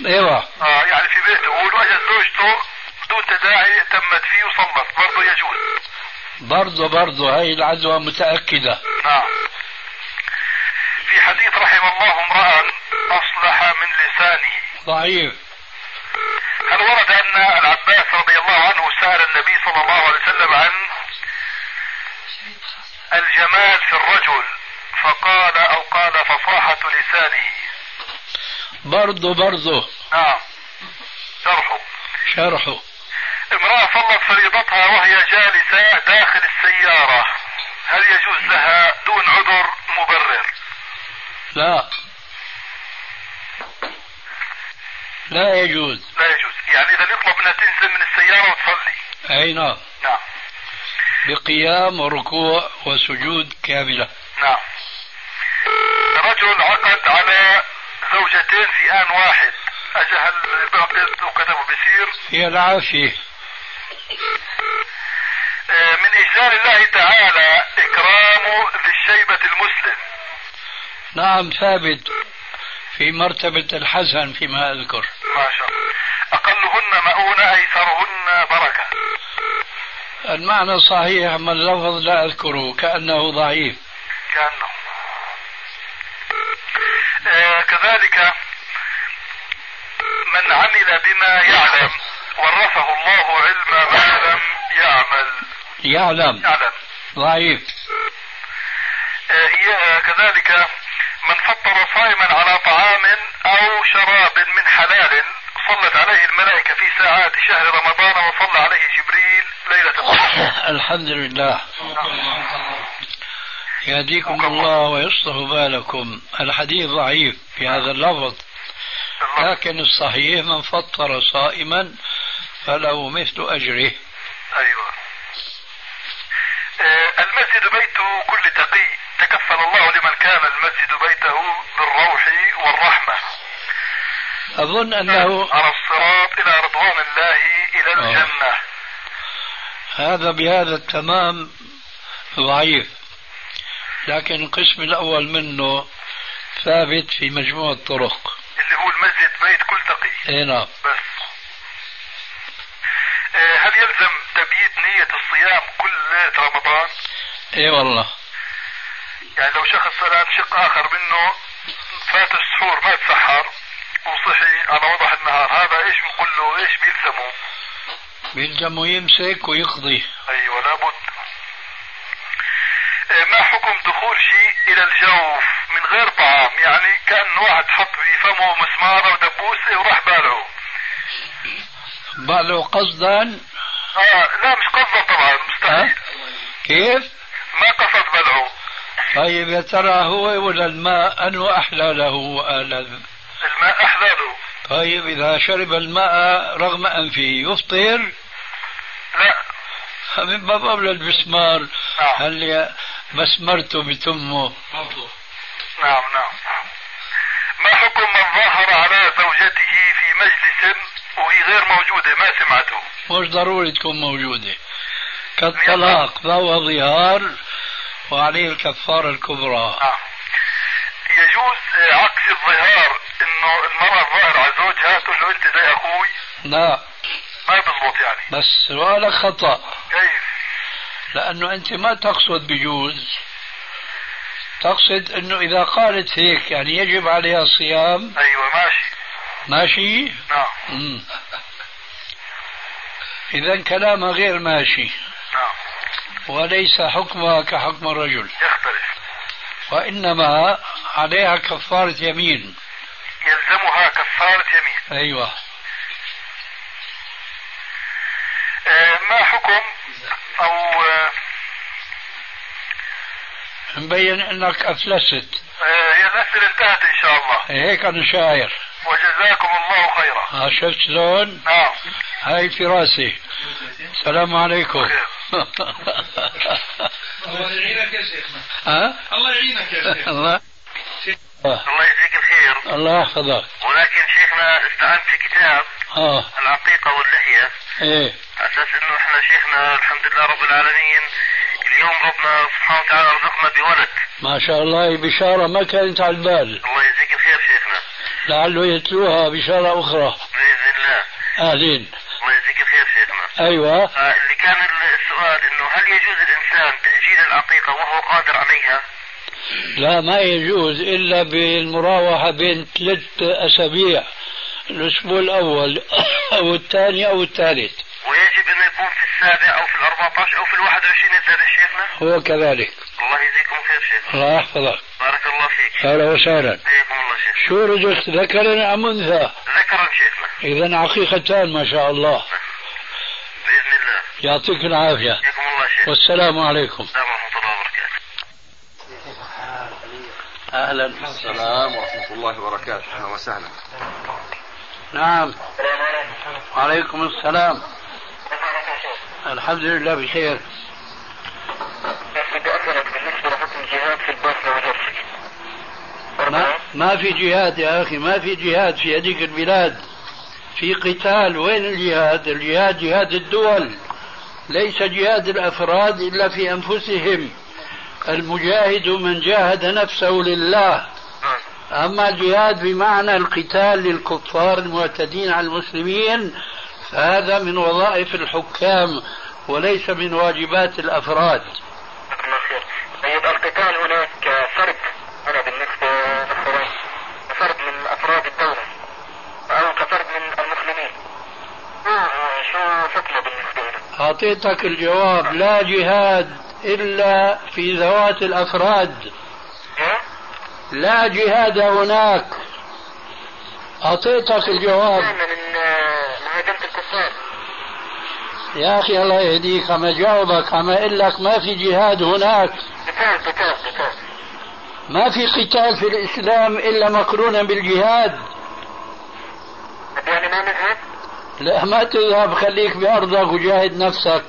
ايوه آه يعني في بيته هو واجا زوجته بدون تداعي تمت فيه وصلت برضه يجوز برضه برضه هاي العدوى متأكدة نعم في حديث رحم الله امرأ أصلح من لسانه ضعيف هل ورد أن العباس رضي الله عنه سأل النبي صلى الله عليه وسلم عن الجمال في الرجل فقال أو قال فصاحة لسانه برضه برضه نعم شرحه شرحه امرأة صلت فريضتها وهي جالسة داخل السيارة هل يجوز لها دون عذر مبرر لا لا يجوز لا يجوز يعني إذا يطلب منها تنزل من السيارة وتصلي اي نعم نعم بقيام وركوع وسجود كاملة نعم رجل عقد على زوجتين في آن واحد أجا هل بعقد وكتبه بصير هي العافية آه، من إجلال الله تعالى إكرام ذي الشيبة المسلم نعم ثابت في مرتبة الحسن فيما أذكر ما شاء الله أقلهن مؤونة أيسرهن بركة المعنى صحيح ما اللفظ لا أذكره كأنه ضعيف كأنه آه، كذلك من عمل بما يعلم ورثه الله علم ما لم يعمل يعلم يعلم ضعيف آه، إياه كذلك من فطر صائما على طعام او شراب من حلال صلت عليه الملائكه في ساعات شهر رمضان وصلى عليه جبريل ليله القدر. الحمد لله يهديكم الله ويصلح بالكم الحديث ضعيف في هذا اللفظ الله. لكن الصحيح من فطر صائما فله مثل أجره ايوه. آه، المسجد بيت كل تقي تكفل الله لمن كان المسجد بيته بالروح والرحمه. أظن أنه على الصراط الى رضوان الله الى الجنه. هذا بهذا التمام ضعيف لكن القسم الأول منه ثابت في مجموع الطرق اللي هو المسجد بيت كل تقي اي نعم بس آه، هل يلزم تبييت نية الصيام كل ليلة رمضان؟ اي والله يعني لو شخص الآن شق آخر منه فات السحور ما تسحر وصحي على وضح النهار هذا ايش بنقول له ايش بيلزمه؟ بيلزمه يمسك ويقضي ايوه لابد آه، ما حكم دخول شيء الى الجوف من غير طعام يعني كان واحد حط بفمه مسمار او دبوسه وراح بالعه بقى قصدا آه لا مش قصده طبعا مستحيل كيف؟ ما قصد بلعه طيب يا ترى هو ولا الماء أنه أحلى له وألذ الماء احلى له طيب إذا شرب الماء رغم أنفه يفطر لا من باب أولى المسمار نعم. هل يا- مسمرته بتمه برضه نعم نعم ما حكم من ظاهر على زوجته في مجلس وهي غير موجودة ما سمعته مش ضروري تكون موجودة كالطلاق فهو ظهار وعليه الكفارة الكبرى نعم يجوز آه، عكس الظهار انه المرأة الظاهر على زوجها تقول له انت زي اخوي لا ما بزبط يعني بس سؤالك خطأ كيف لأنه أنت ما تقصد بجوز تقصد أنه إذا قالت هيك يعني يجب عليها الصيام ايوه ماشي ماشي نعم مم. إذا كلامها غير ماشي نعم وليس حكمها كحكم الرجل يختلف وإنما عليها كفارة يمين يلزمها كفارة يمين أيوة آه، ما حكم او آه، مبين أنك أفلست آه، هي الاسئلة انتهت ان شاء الله هيك أنا شاعر وجزاكم الله خيرا ها شفت شلون نعم هاي في راسي السلام عليكم الله يعينك يا شيخنا ها الله يعينك يا شيخ الله الله يجزيك الخير الله يحفظك ولكن شيخنا استعنت في كتاب اه العقيقة واللحية ايه على اساس انه احنا شيخنا الحمد لله رب العالمين اليوم ربنا سبحانه وتعالى رزقنا بولد ما شاء الله بشارة ما كانت على البال الله يجزيك الخير شيخنا لعله يتلوها بشارة أخرى باذن الله أهلين الله يجزيك الخير شيخنا أيوة آه، اللي كان السؤال انه هل يجوز الانسان تاجيل العقيقه وهو قادر عليها؟ لا ما يجوز إلا بالمراوحة بين ثلاث أسابيع الأسبوع الأول أو الثاني أو الثالث ويجب انه يكون في السابع او في ال 14 او في ال 21 السابع شيخنا؟ هو كذلك الله يجزيكم خير شيخنا الله يحفظك بارك الله فيك أهلا وسهلا حياكم الله شيخنا شو رزقت ذكر أم أنثى ذكرا شيخنا إذا عقيقتان ما شاء الله باذن الله يعطيك العافية حياكم الله شيخنا والسلام عليكم السلام ورحمه الله وبركاته أهلا السلام ورحمة الله وبركاته أهلا وسهلا نعم وعليكم السلام الحمد لله بخير بدي اسالك بالنسبه لحكم الجهاد في البصره وجرجر. ما, ما في جهاد يا أخي ما في جهاد في هذيك البلاد في قتال وين الجهاد الجهاد جهاد الدول ليس جهاد الأفراد إلا في أنفسهم المجاهد من جاهد نفسه لله أما الجهاد بمعنى القتال للكفار المعتدين على المسلمين فهذا من وظائف الحكام وليس من واجبات الأفراد جزاك الله خير. طيب القتال هناك فرد انا بالنسبه للخروج فرد من افراد الدوله او كفرد من المسلمين. شو- شو حكمه بالنسبه لك؟ أعطيتك الجواب لا جهاد إلا في ذوات الأفراد إيه؟ لا جهاد هناك أعطيتك الجواب دائما من من هجمه الكفار. يا أخي الله يهديك عم جاوبك عم أقول لك ما في جهاد هناك قتال قتال قتال. ما في قتال في الإسلام إلا مقرونا بالجهاد طب يعني ما نذهب؟ لا ما تذهب خليك بأرضك وجاهد نفسك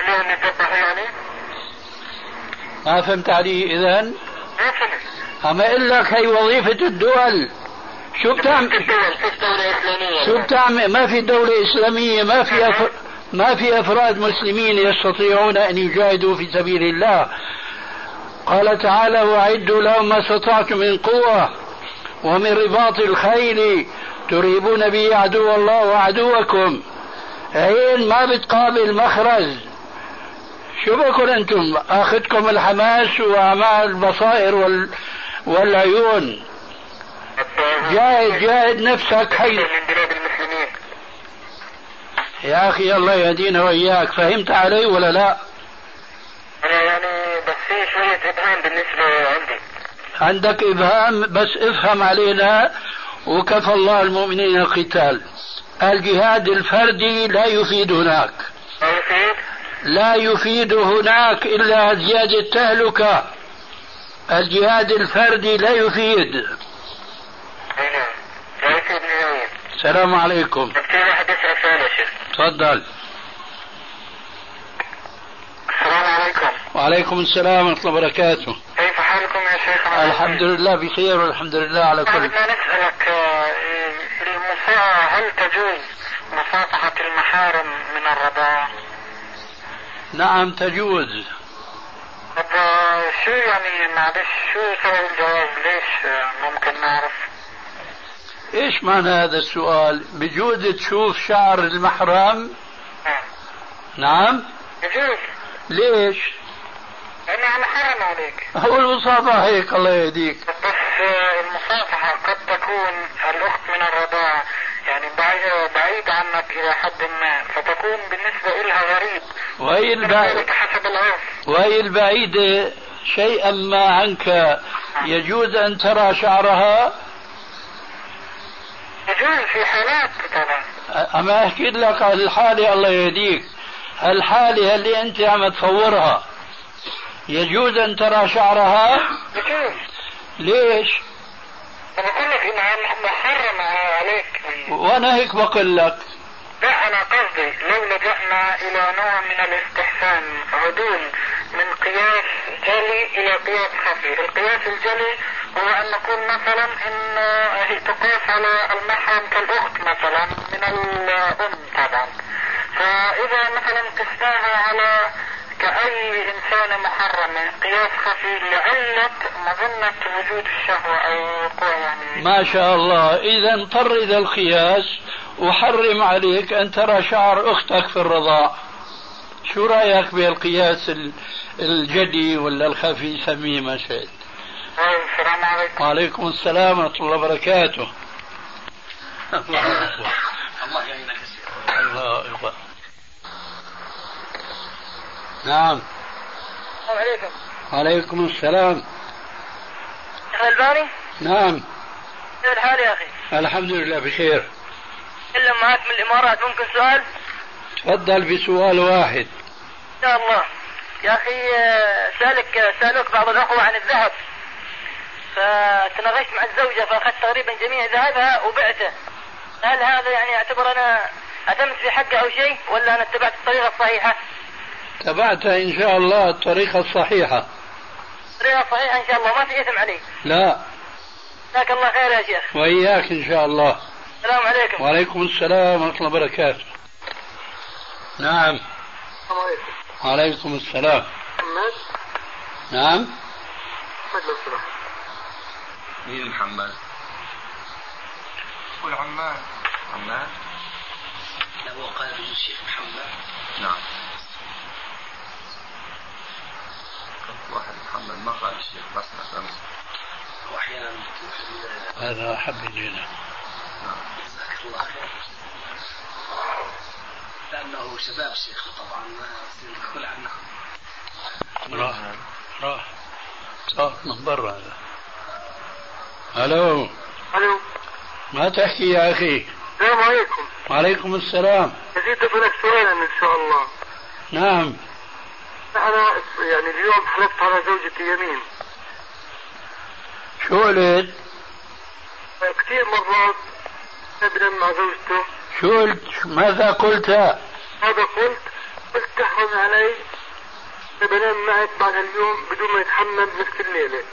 اليوم نذبحوا يعني؟ ما فهمت علي إذا ما فهمت. عم أقول لك هي وظيفة الدول شو بتعمل الدول في الدوله الاسلاميه. شو بتعمل ما في دولة إسلامية ما في أف... ما في أفراد مسلمين يستطيعون أن يجاهدوا في سبيل الله قال تعالى وأعدوا لهم ما استطعتم من قوة ومن رباط الخيل ترهبون به عدو الله وعدوكم عين ما بتقابل مخرج شو بكون انتم اخذكم الحماس واعمال البصائر وال... والعيون جاهد جاهد نفسك حي من بلاد المسلمين يا اخي الله يهدينا واياك فهمت علي ولا لا انا يعني بس في شويه ابهام بالنسبه عندي عندك ابهام بس افهم علينا وكفى الله المؤمنين القتال الجهاد الفردي لا يفيد هناك ما يفيد لا يفيد هناك الا زياده تهلكه الجهاد الفردي لا يفيد اي نعم لا يفيد نهائيا السلام عليكم طب في واحد يسال سؤال يا شيخ تفضل السلام عليكم وعليكم السلام ورحمه الله وبركاته كيف حالكم يا شيخ الحمد لله بخير والحمد لله على كل بدنا نسألك آه، إيه، المصيعة هل تجوز مصافحة المحارم من الرضاعة؟ نعم تجوز طب آه، شو يعني معلش شو سبب الجواز ليش آه، ممكن نعرف؟ ايش معنى هذا السؤال بجوز تشوف شعر المحرم آه، نعم يجوز ليش لأنها محرم عليك هو المصافحة هيك الله يهديك بس آه، المصافحة قد تكون الأخت من الرضاعة يعني بعي- بعيد عنك إلى حد ما فتكون بالنسبة إلها غريب وهي البعيد ذلك حسب العرف وهي البعيدة شيئا ما عنك يجوز أن ترى شعرها يجوز في حالات طبعا أما أحكي لك عن الحالة الله يهديك الحالة اللي أنت عم تصورها يجوز أن ترى شعرها يجوز ليش انا بقول لك انها محرمه عليك وأنا هيك بقول لك لا انا قصدي لو لجأنا الى نوع من الاستحسان عدول من قياس جلي الى قياس خفي، القياس الجلي هو ان نقول مثلا ان هي تقاس على المحرم كالاخت مثلا من الام طبعا. فاذا مثلا قسناها على كأي إنسانة محرمة قياس خفي لعلة مظنة وجود الشهوة أو قوة يعني ما شاء الله إذا طرد القياس وحرم عليك أن ترى شعر أختك في الرضاع شو رأيك بهالقياس ال- الجدي ولا الخفي سميه ما شئت السلام عليكم وعليكم السلام ورحمة الله وبركاته الله أكبر الله يعينك يا سيدي. الله أكبر نعم السلام عليكم وعليكم السلام الباني نعم كيف الحال يا اخي؟ الحمد لله بخير اتكلم معك من الامارات ممكن سؤال؟ تفضل بسؤال واحد ان شاء الله يا اخي آه، سالك آه، سالوك بعض الاخوه عن الذهب فتناقشت مع الزوجه فاخذت تقريبا جميع ذهبها وبعته هل هذا يعني اعتبر انا اثمت في حقه او شيء ولا انا اتبعت الطريقه الصحيحه؟ تبعت إن شاء الله الطريقة الصحيحة الطريقه الصحيحه ان شاء الله ما في اثم علي لا جزاك الله خير يا شيخ وإياك إن شاء الله السلام عليكم وعليكم السلام ورحمة الله وبركاته نعم السلام عليكم وعليكم السلام محمد نعم محمد لو سمحت مين محمد؟ قل عمان محمد؟ لا هو قال بجوز الشيخ محمد نعم واحد محمد ما قال الشيخ بس نعم. أمس واحيانا تقول هذا حب لنا نعم جزاك الله خير لانه شباب شيخ طبعا ما يصير الكل عنه نعم. راح راح صار من برا هذا الو الو ما تحكي يا اخي السلام عليكم وعليكم السلام يزيد لك سؤالا ان شاء الله نعم انا يعني اليوم حلفت على زوجتي يمين شو قلت؟ كثير مرات ابدا مع زوجته شو قلت؟ ماذا قلت؟ هذا قلت قلت تحرم علي إذا بنام معك بعد اليوم بدون ما يتحمم نفس الليله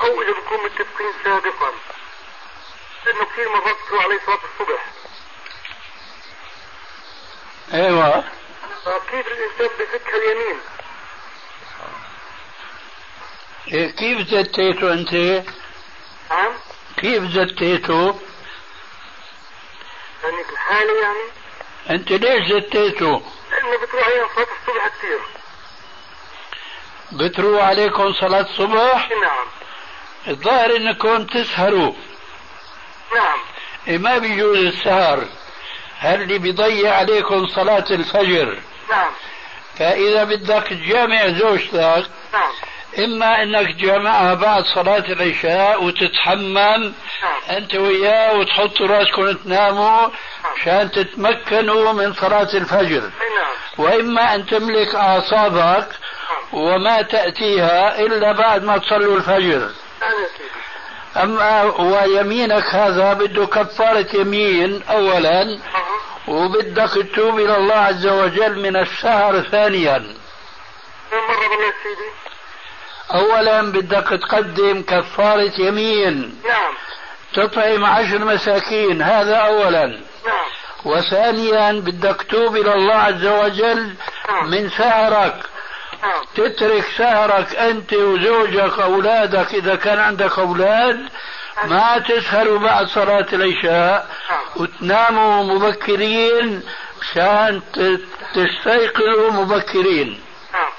او اذا بكون متفقين سابقا لانه كثير مرات تروح علي صلاه الصبح ايوه فكيف الانسان بفك اليمين إيه كيف زتيته أنت؟ نعم كيف زتيته؟ يعني بالحالة يعني أنت ليش زتيته؟ لأنه بتروح أيام صلاة الصبح كثير بتروح عليكم صلاة الصبح؟ نعم الظاهر أنكم تسهروا نعم إيه ما بيجوز السهر هل اللي بيضيع عليكم صلاة الفجر نعم فإذا بدك تجامع زوجتك نعم إما أنك تجامعها بعد صلاة العشاء وتتحمم نعم أنت وياه وتحطوا راسكم تناموا عشان تتمكنوا من صلاة الفجر أي نعم وإما أن تملك أعصابك وما تأتيها إلا بعد ما تصلوا الفجر نعم يا سيدي أما ويمينك هذا بده كفارة يمين أولا أها. وبدك تتوب إلى الله عز وجل من السهر ثانيا كم مرة بالله يا سيدي أولا بدك تقدم كفارة يمين نعم تطعم عشر مساكين هذا أولا نعم وثانيا بدك توب إلى الله عز وجل من سهرك نعم تترك سهرك أنت وزوجك أولادك إذا كان عندك أولاد ما تسهروا بعد صلاة العشاء وتناموا مبكرين عشان ت- تستيقظوا مبكرين نعم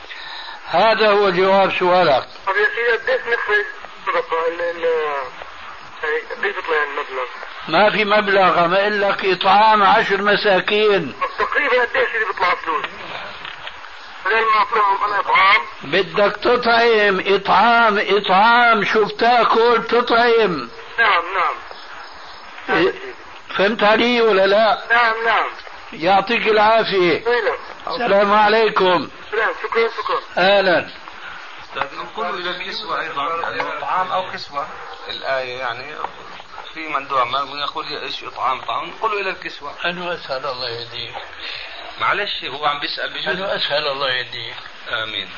هذا هو جواب سؤالك طب يا سيدي قديش نخرج الصدقة ال ال يعني قديش بيطلع المبلغ؟ ما في مبلغ ما قل لك إطعام عشر مساكين طب تقريبا قديش اللي بيطلع فلوس؟ بدل ما اطلعهم انا اطعام بدك تطعم إطعام إطعام شو بتاكل تطعم نعم نعم نعم يا إيه، سيدي. فهمت علي ولا لا نعم نعم يعطيك العافية طيب السلام عليكم سلام شكرا شكرا أهلا نقول الى الكسوه ايضا الاطعام او كسوه الايه يعني في من دعا من يقول ايش اطعام طعام نقول الى الكسوه أنا أسأل الله يهديك معلش هو عم بيسال بجوز أنا أسأل الله يهديك امين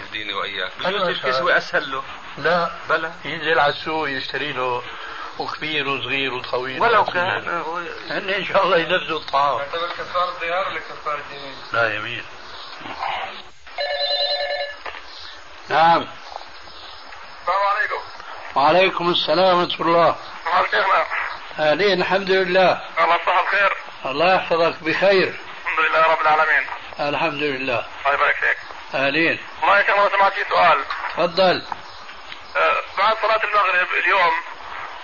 يهديني واياك أيوة بجوز الكسوه اسهل له لا بلى ينزل على السوق يشتري له وكبير وصغير وطويل ولو كان هو هن إن شاء الله ينفذوا الطعام يعتبر كفارة ظهار ولا كفارة يمين؟ لا يمين نعم السلام عليكم وعليكم السلام ورحمة الله حال شيخنا أهلين الحمد لله الله يصبح الخير الله يحفظك بخير الحمد لله رب العالمين الحمد لله الله يبارك فيك أهلين والله يا شيخنا ما سمعت في سؤال تفضل آه، بعد صلاة المغرب اليوم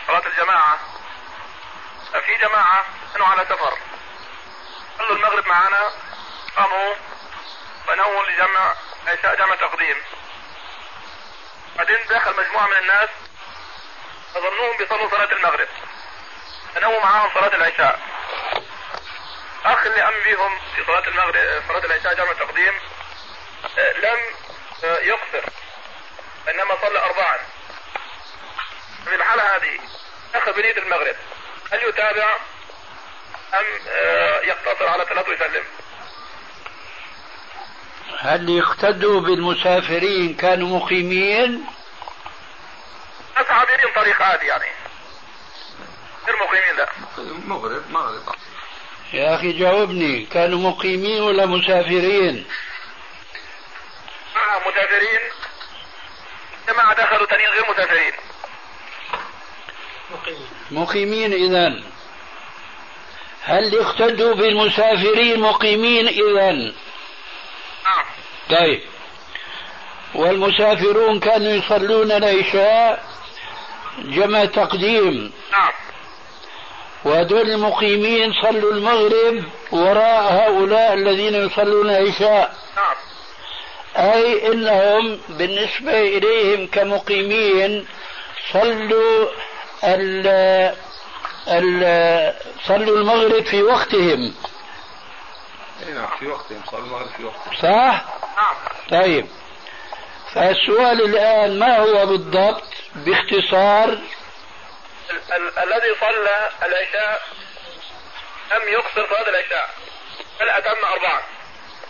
صلاة الجماعة آه، في جماعة كانوا على سفر صلوا المغرب معنا قاموا ونووا لجمع عشاء جمع تقديم بعدين دخل مجموعة من الناس فظنوهم بيصلوا صلاة المغرب فنووا معاهم صلاة العشاء أخ اللي أم بيهم في صلاة المغرب صلاة العشاء جمع تقديم آه، لم آه، يقصر انما صلى اربعا في الحاله هذه اخذ بنيه المغرب هل يتابع ام آه، يقتصر على ثلاث ويسلم؟ هل يقتدوا بالمسافرين كانوا مقيمين بس عابرين طريق عادي يعني غير مقيمين لا مغرب مغرب يا أخي جاوبني كانوا مقيمين ولا مسافرين مع مسافرين جماعة دخلوا تانيين غير مسافرين مقيمين إذا هل يقتدوا بالمسافرين مقيمين إذا نعم طيب والمسافرون كانوا يصلون العشاء جمع تقديم نعم وهذول المقيمين صلوا المغرب وراء هؤلاء الذين يصلون العشاء نعم أي أنهم بالنسبة إليهم كمقيمين صلوا ال ال صلوا المغرب في وقتهم اي نعم في وقتهم صار المغرب في وقتهم صح؟ نعم طيب فالسؤال الآن ما هو بالضبط باختصار ال- ال- الذي صلى العشاء لم يقصر صلاة العشاء بل أتم أربعا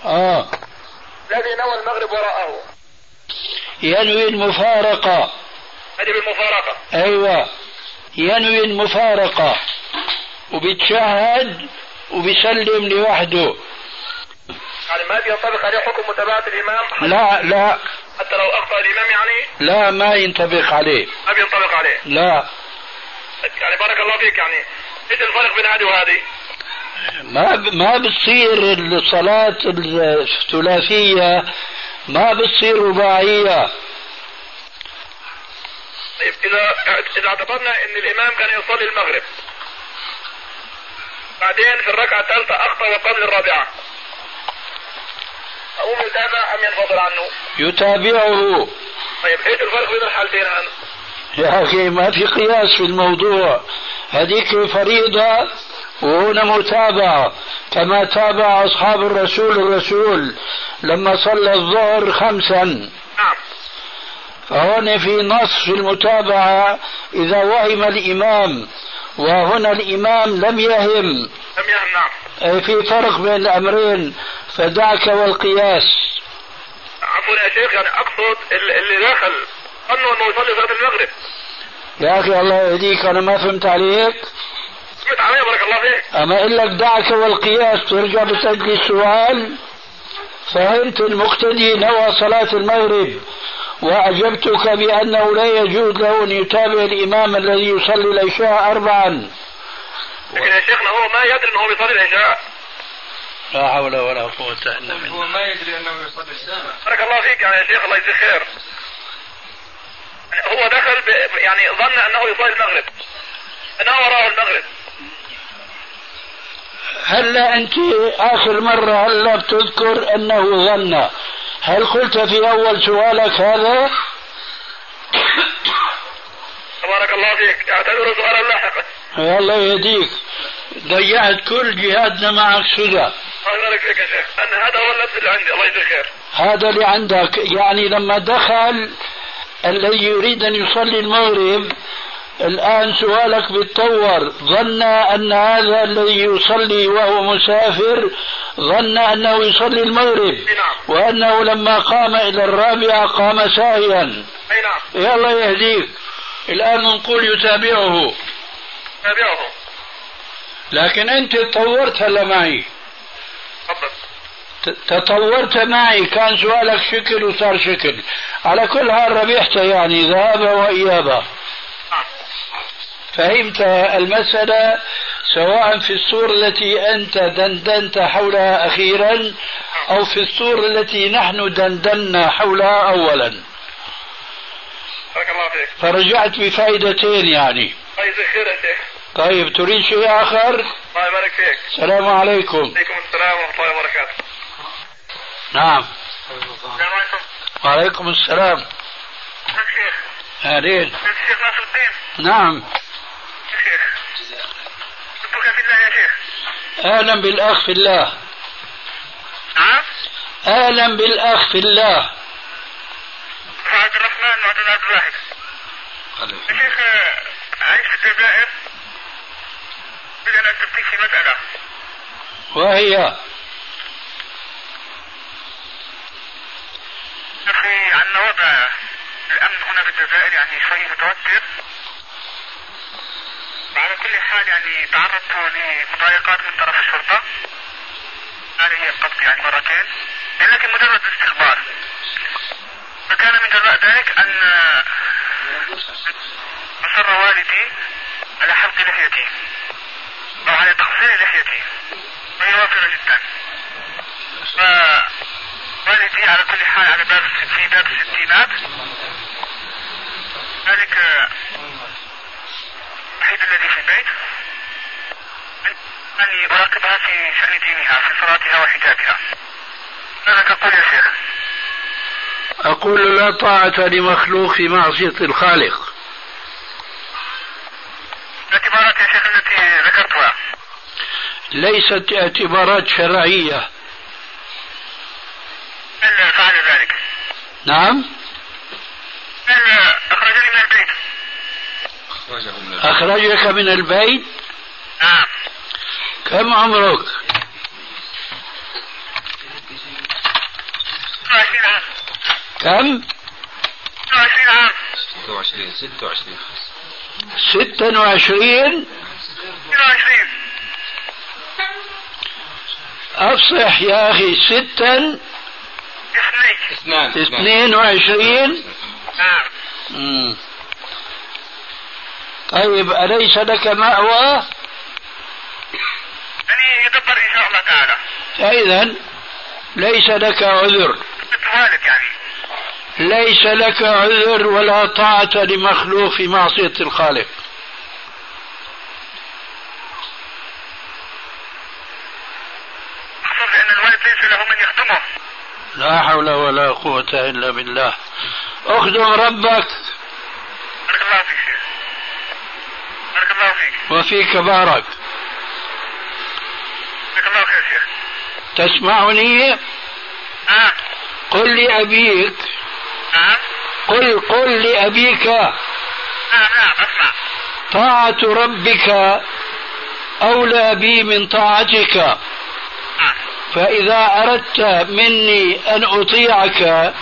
آه الذي نوى المغرب وراءه ينوي المفارقة هذه بالمفارقة أيوة ينوي المفارقة وبيتشهد وبيسلم لوحده يعني ما بينطبق عليه حكم متابعة الإمام لا لا حتى لو اخطا الامام يعني لا ما ينطبق عليه ما بينطبق عليه لا يعني بارك الله فيك يعني ايش الفرق بين هذه وهذه؟ ما ما بتصير الصلاة الثلاثية ما بتصير رباعية طيب اذا اذا اعتبرنا ان الامام كان يصلي المغرب بعدين في الركعه الثالثه اخطا وقبل الرابعه اقوم يتابع ام ينفصل عنه؟ يتابعه طيب ايش الفرق بين الحالتين الان؟ يا أخي ما في قياس في الموضوع هذيك فريضة وهنا متابعة كما تابع أصحاب الرسول الرسول لما صلى الظهر خمسا نعم فهون في نص في المتابعة إذا وهم الإمام وهنا الإمام لم يهم لم يهم نعم أي في فرق بين الأمرين فدعك والقياس عفوا يا شيخ يعني اقصد ال- اللي دخل ظنوا انه يصلي صلاه المغرب يا أخي الله يهديك أنا ما فهمت عليك سمعت علي بارك الله فيك أما أقول لك دعك والقياس ترجع بتأدي السؤال فهمت المقتدي نوى صلاة المغرب وأجبتك بأنه لا يجوز له أن يتابع الإمام الذي يصلي العشاء أربعا لكن يا شيخنا هو ما يدري انه هو بيصلي العشاء لا حول ولا قوة إلا هو ما يدري انه يصلي السنه بارك الله فيك يعني يا شيخ الله يجزيك خير يعني هو دخل ب... يعني ظن انه يصلي المغرب انه وراه المغرب هلا أنت آخر مرة هلا بتذكر أنه ظن هل قلت في أول سؤالك هذا؟ بارك الله فيك اعتذر سؤالا لاحقا الله يهديك ضيعت كل جهادنا معك سدى الله يبارك فيك يا شيخ ان هذا هو اللبس اللي عندي الله يجزيك خير هذا اللي عندك يعني لما دخل الذي يريد أن يصلي المغرب الآن سؤالك بيتطور ظن أن هذا الذي يصلي وهو مسافر ظن أنه يصلي المغرب اي نعم وأنه لما قام إلى الرابعة قام ساهيا اي نعم يا الله يهديك الآن نقول يتابعه تابعه لكن أنت تطورت هلا معي تفضل تطورت معي كان سؤالك شكل وصار شكل على كل حال ربحت يعني ذهاب وإيابة نعم فهمت المسألة سواء في الصورة التي أنت دندنت حولها أخيرا أو في الصورة التي نحن دندنا حولها أولا بارك الله فيك فرجعت بفائدتين يعني الله يجزيك خير يا شيخ طيب تريد شيء آخر الله يبارك فيك السلام عليكم عليكم السلام ورحمه الله وبركاته نعم السلام عليكم وعليكم السلام الشيخ أهلين الشيخ ناصر الدين نعم يا شيخ اترك في الله يا شيخ أهلا بالأخ في الله نعم أهلا بالأخ في الله عبد الرحمن وعبد عبد الواحد يا شيخ آه، عايش في الجزائر بدي انا استفتيك في مساله وهي يا اخي عندنا وضع الامن هنا في الجزائر يعني شوي متوتر وعلى كل حال يعني تعرضت لمضايقات من طرف الشرطه هذه هي القبض يعني مرتين لكن مجرد استخبار فكان من جزاء ذلك ان اصر والدي على حلق لحيتي او على تقصير لحيتي وهي وافره جدا ف والدي على كل حال على باب في باب الستينات ذلك آه، الوحيد الذي في البيت أني أراقبها في شأن دينها في صلاتها وحجابها ماذا تقول يا شيخ؟ أقول لا طاعة لمخلوق في معصية الخالق الاعتبارات يا شيخ التي ذكرتها ليست اعتبارات شرعية هل فعل ذلك؟ نعم هل أخرجني من البيت؟ أخرجك من البيت نعم كم عمرك 26 عام كم 26 عام 26 26 ستة وعشرين 22 أفصح يا أخي ستا اثنين نعم. اثنان اثنان 22 مم. مم. طيب أليس لك مأوى يعني يدبر ان شاء الله تعالى فإذا ليس لك عذر بتوالد يعني ليس لك عذر ولا طاعة لمخلوق في معصية الخالق خصوصا لان الوالد ليس له من يخدمه لا حول ولا قوة إلا بالله اخدم ربك بارك الله فيك شيخ بارك الله فيك وفيك بارك جزاك الله خير شيخ تسمعني نعم قل لأبيك نعم قل قل لأبيك نعم نعم اسمع طاعة ربك أولى بي من طاعتك نعم فإذا أردت مني أن أطيعك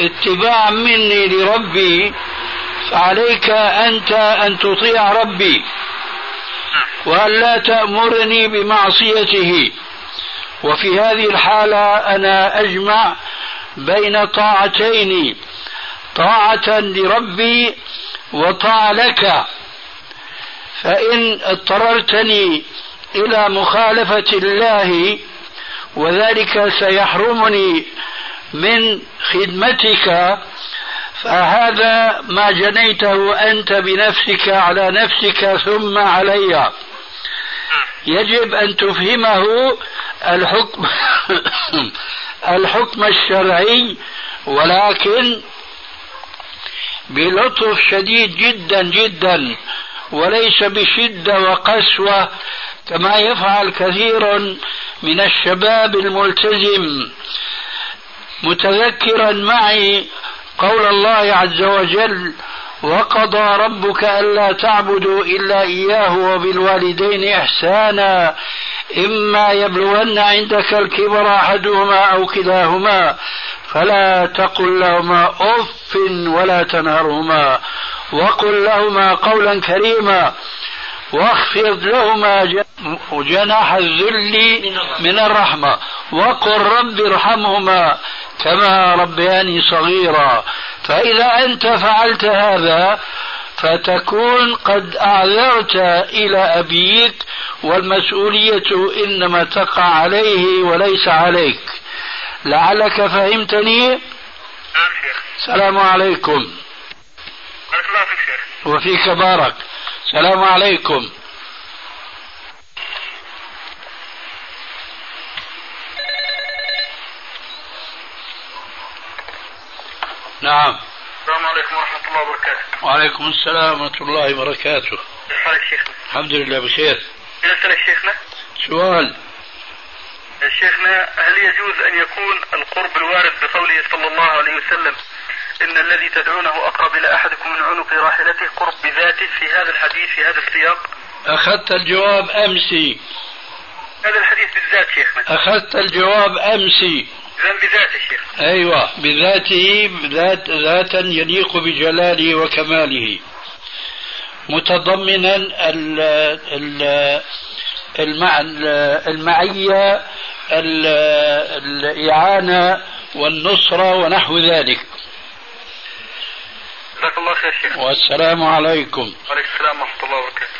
اتباعا مني لربي فعليك أنت أن تطيع ربي نعم وألا تأمرني بمعصيته وفي هذه الحالة أنا أجمع بين طاعتين طاعة لربي وطاعة لك فإن اضطررتني إلى مخالفة الله وذلك سيحرمني من خدمتك فهذا ما جنيته أنت بنفسك على نفسك ثم علي نعم. يجب أن تفهمه الحكم الحكم الشرعي ولكن بلطف شديد جدا جدا وليس بشدة وقسوة كما يفعل كثير من الشباب الملتزم متذكرا معي قول الله عز وجل وقضى ربك ألا تعبدوا إلا إياه وبالوالدين إحسانا إما يبلغن عندك الكبر أحدهما أو كلاهما فلا تقل لهما أف ولا تنهرهما وقل لهما قولا كريما واخفض لهما جن- جناح الذل من الرحمة وقل رب ارحمهما كما ربياني صغيرا فإذا أنت فعلت هذا فتكون قد أعذرت إلى أبيك والمسؤولية إنما تقع عليه وليس عليك لعلك فهمتني نعم شيخ السلام عليكم بارك الله فيك شيخ وفيك بارك السلام عليكم نعم السلام عليكم ورحمه الله وبركاته وعليكم السلام ورحمة الله وبركاته كيف حالك شيخنا؟ الحمد لله بخير بنسألك شيخنا سؤال شيخنا هل يجوز أن يكون القرب الوارد بقوله صلى الله عليه وسلم إن الذي تدعونه أقرب إلى أحدكم من عنق راحلته قرب بذاته في هذا الحديث في هذا السياق أخذت الجواب أمسي هذا الحديث بالذات شيخنا أخذت الجواب أمسي إذا بذاته شيخ أيوة بذاته ذات ذاتا يليق بجلاله وكماله متضمنا ال ال المع المعية ال- الإعانة والنصرة ونحو ذلك جزاك الله خير شيخ والسلام عليكم وعليكم السلام ورحمة الله وبركاته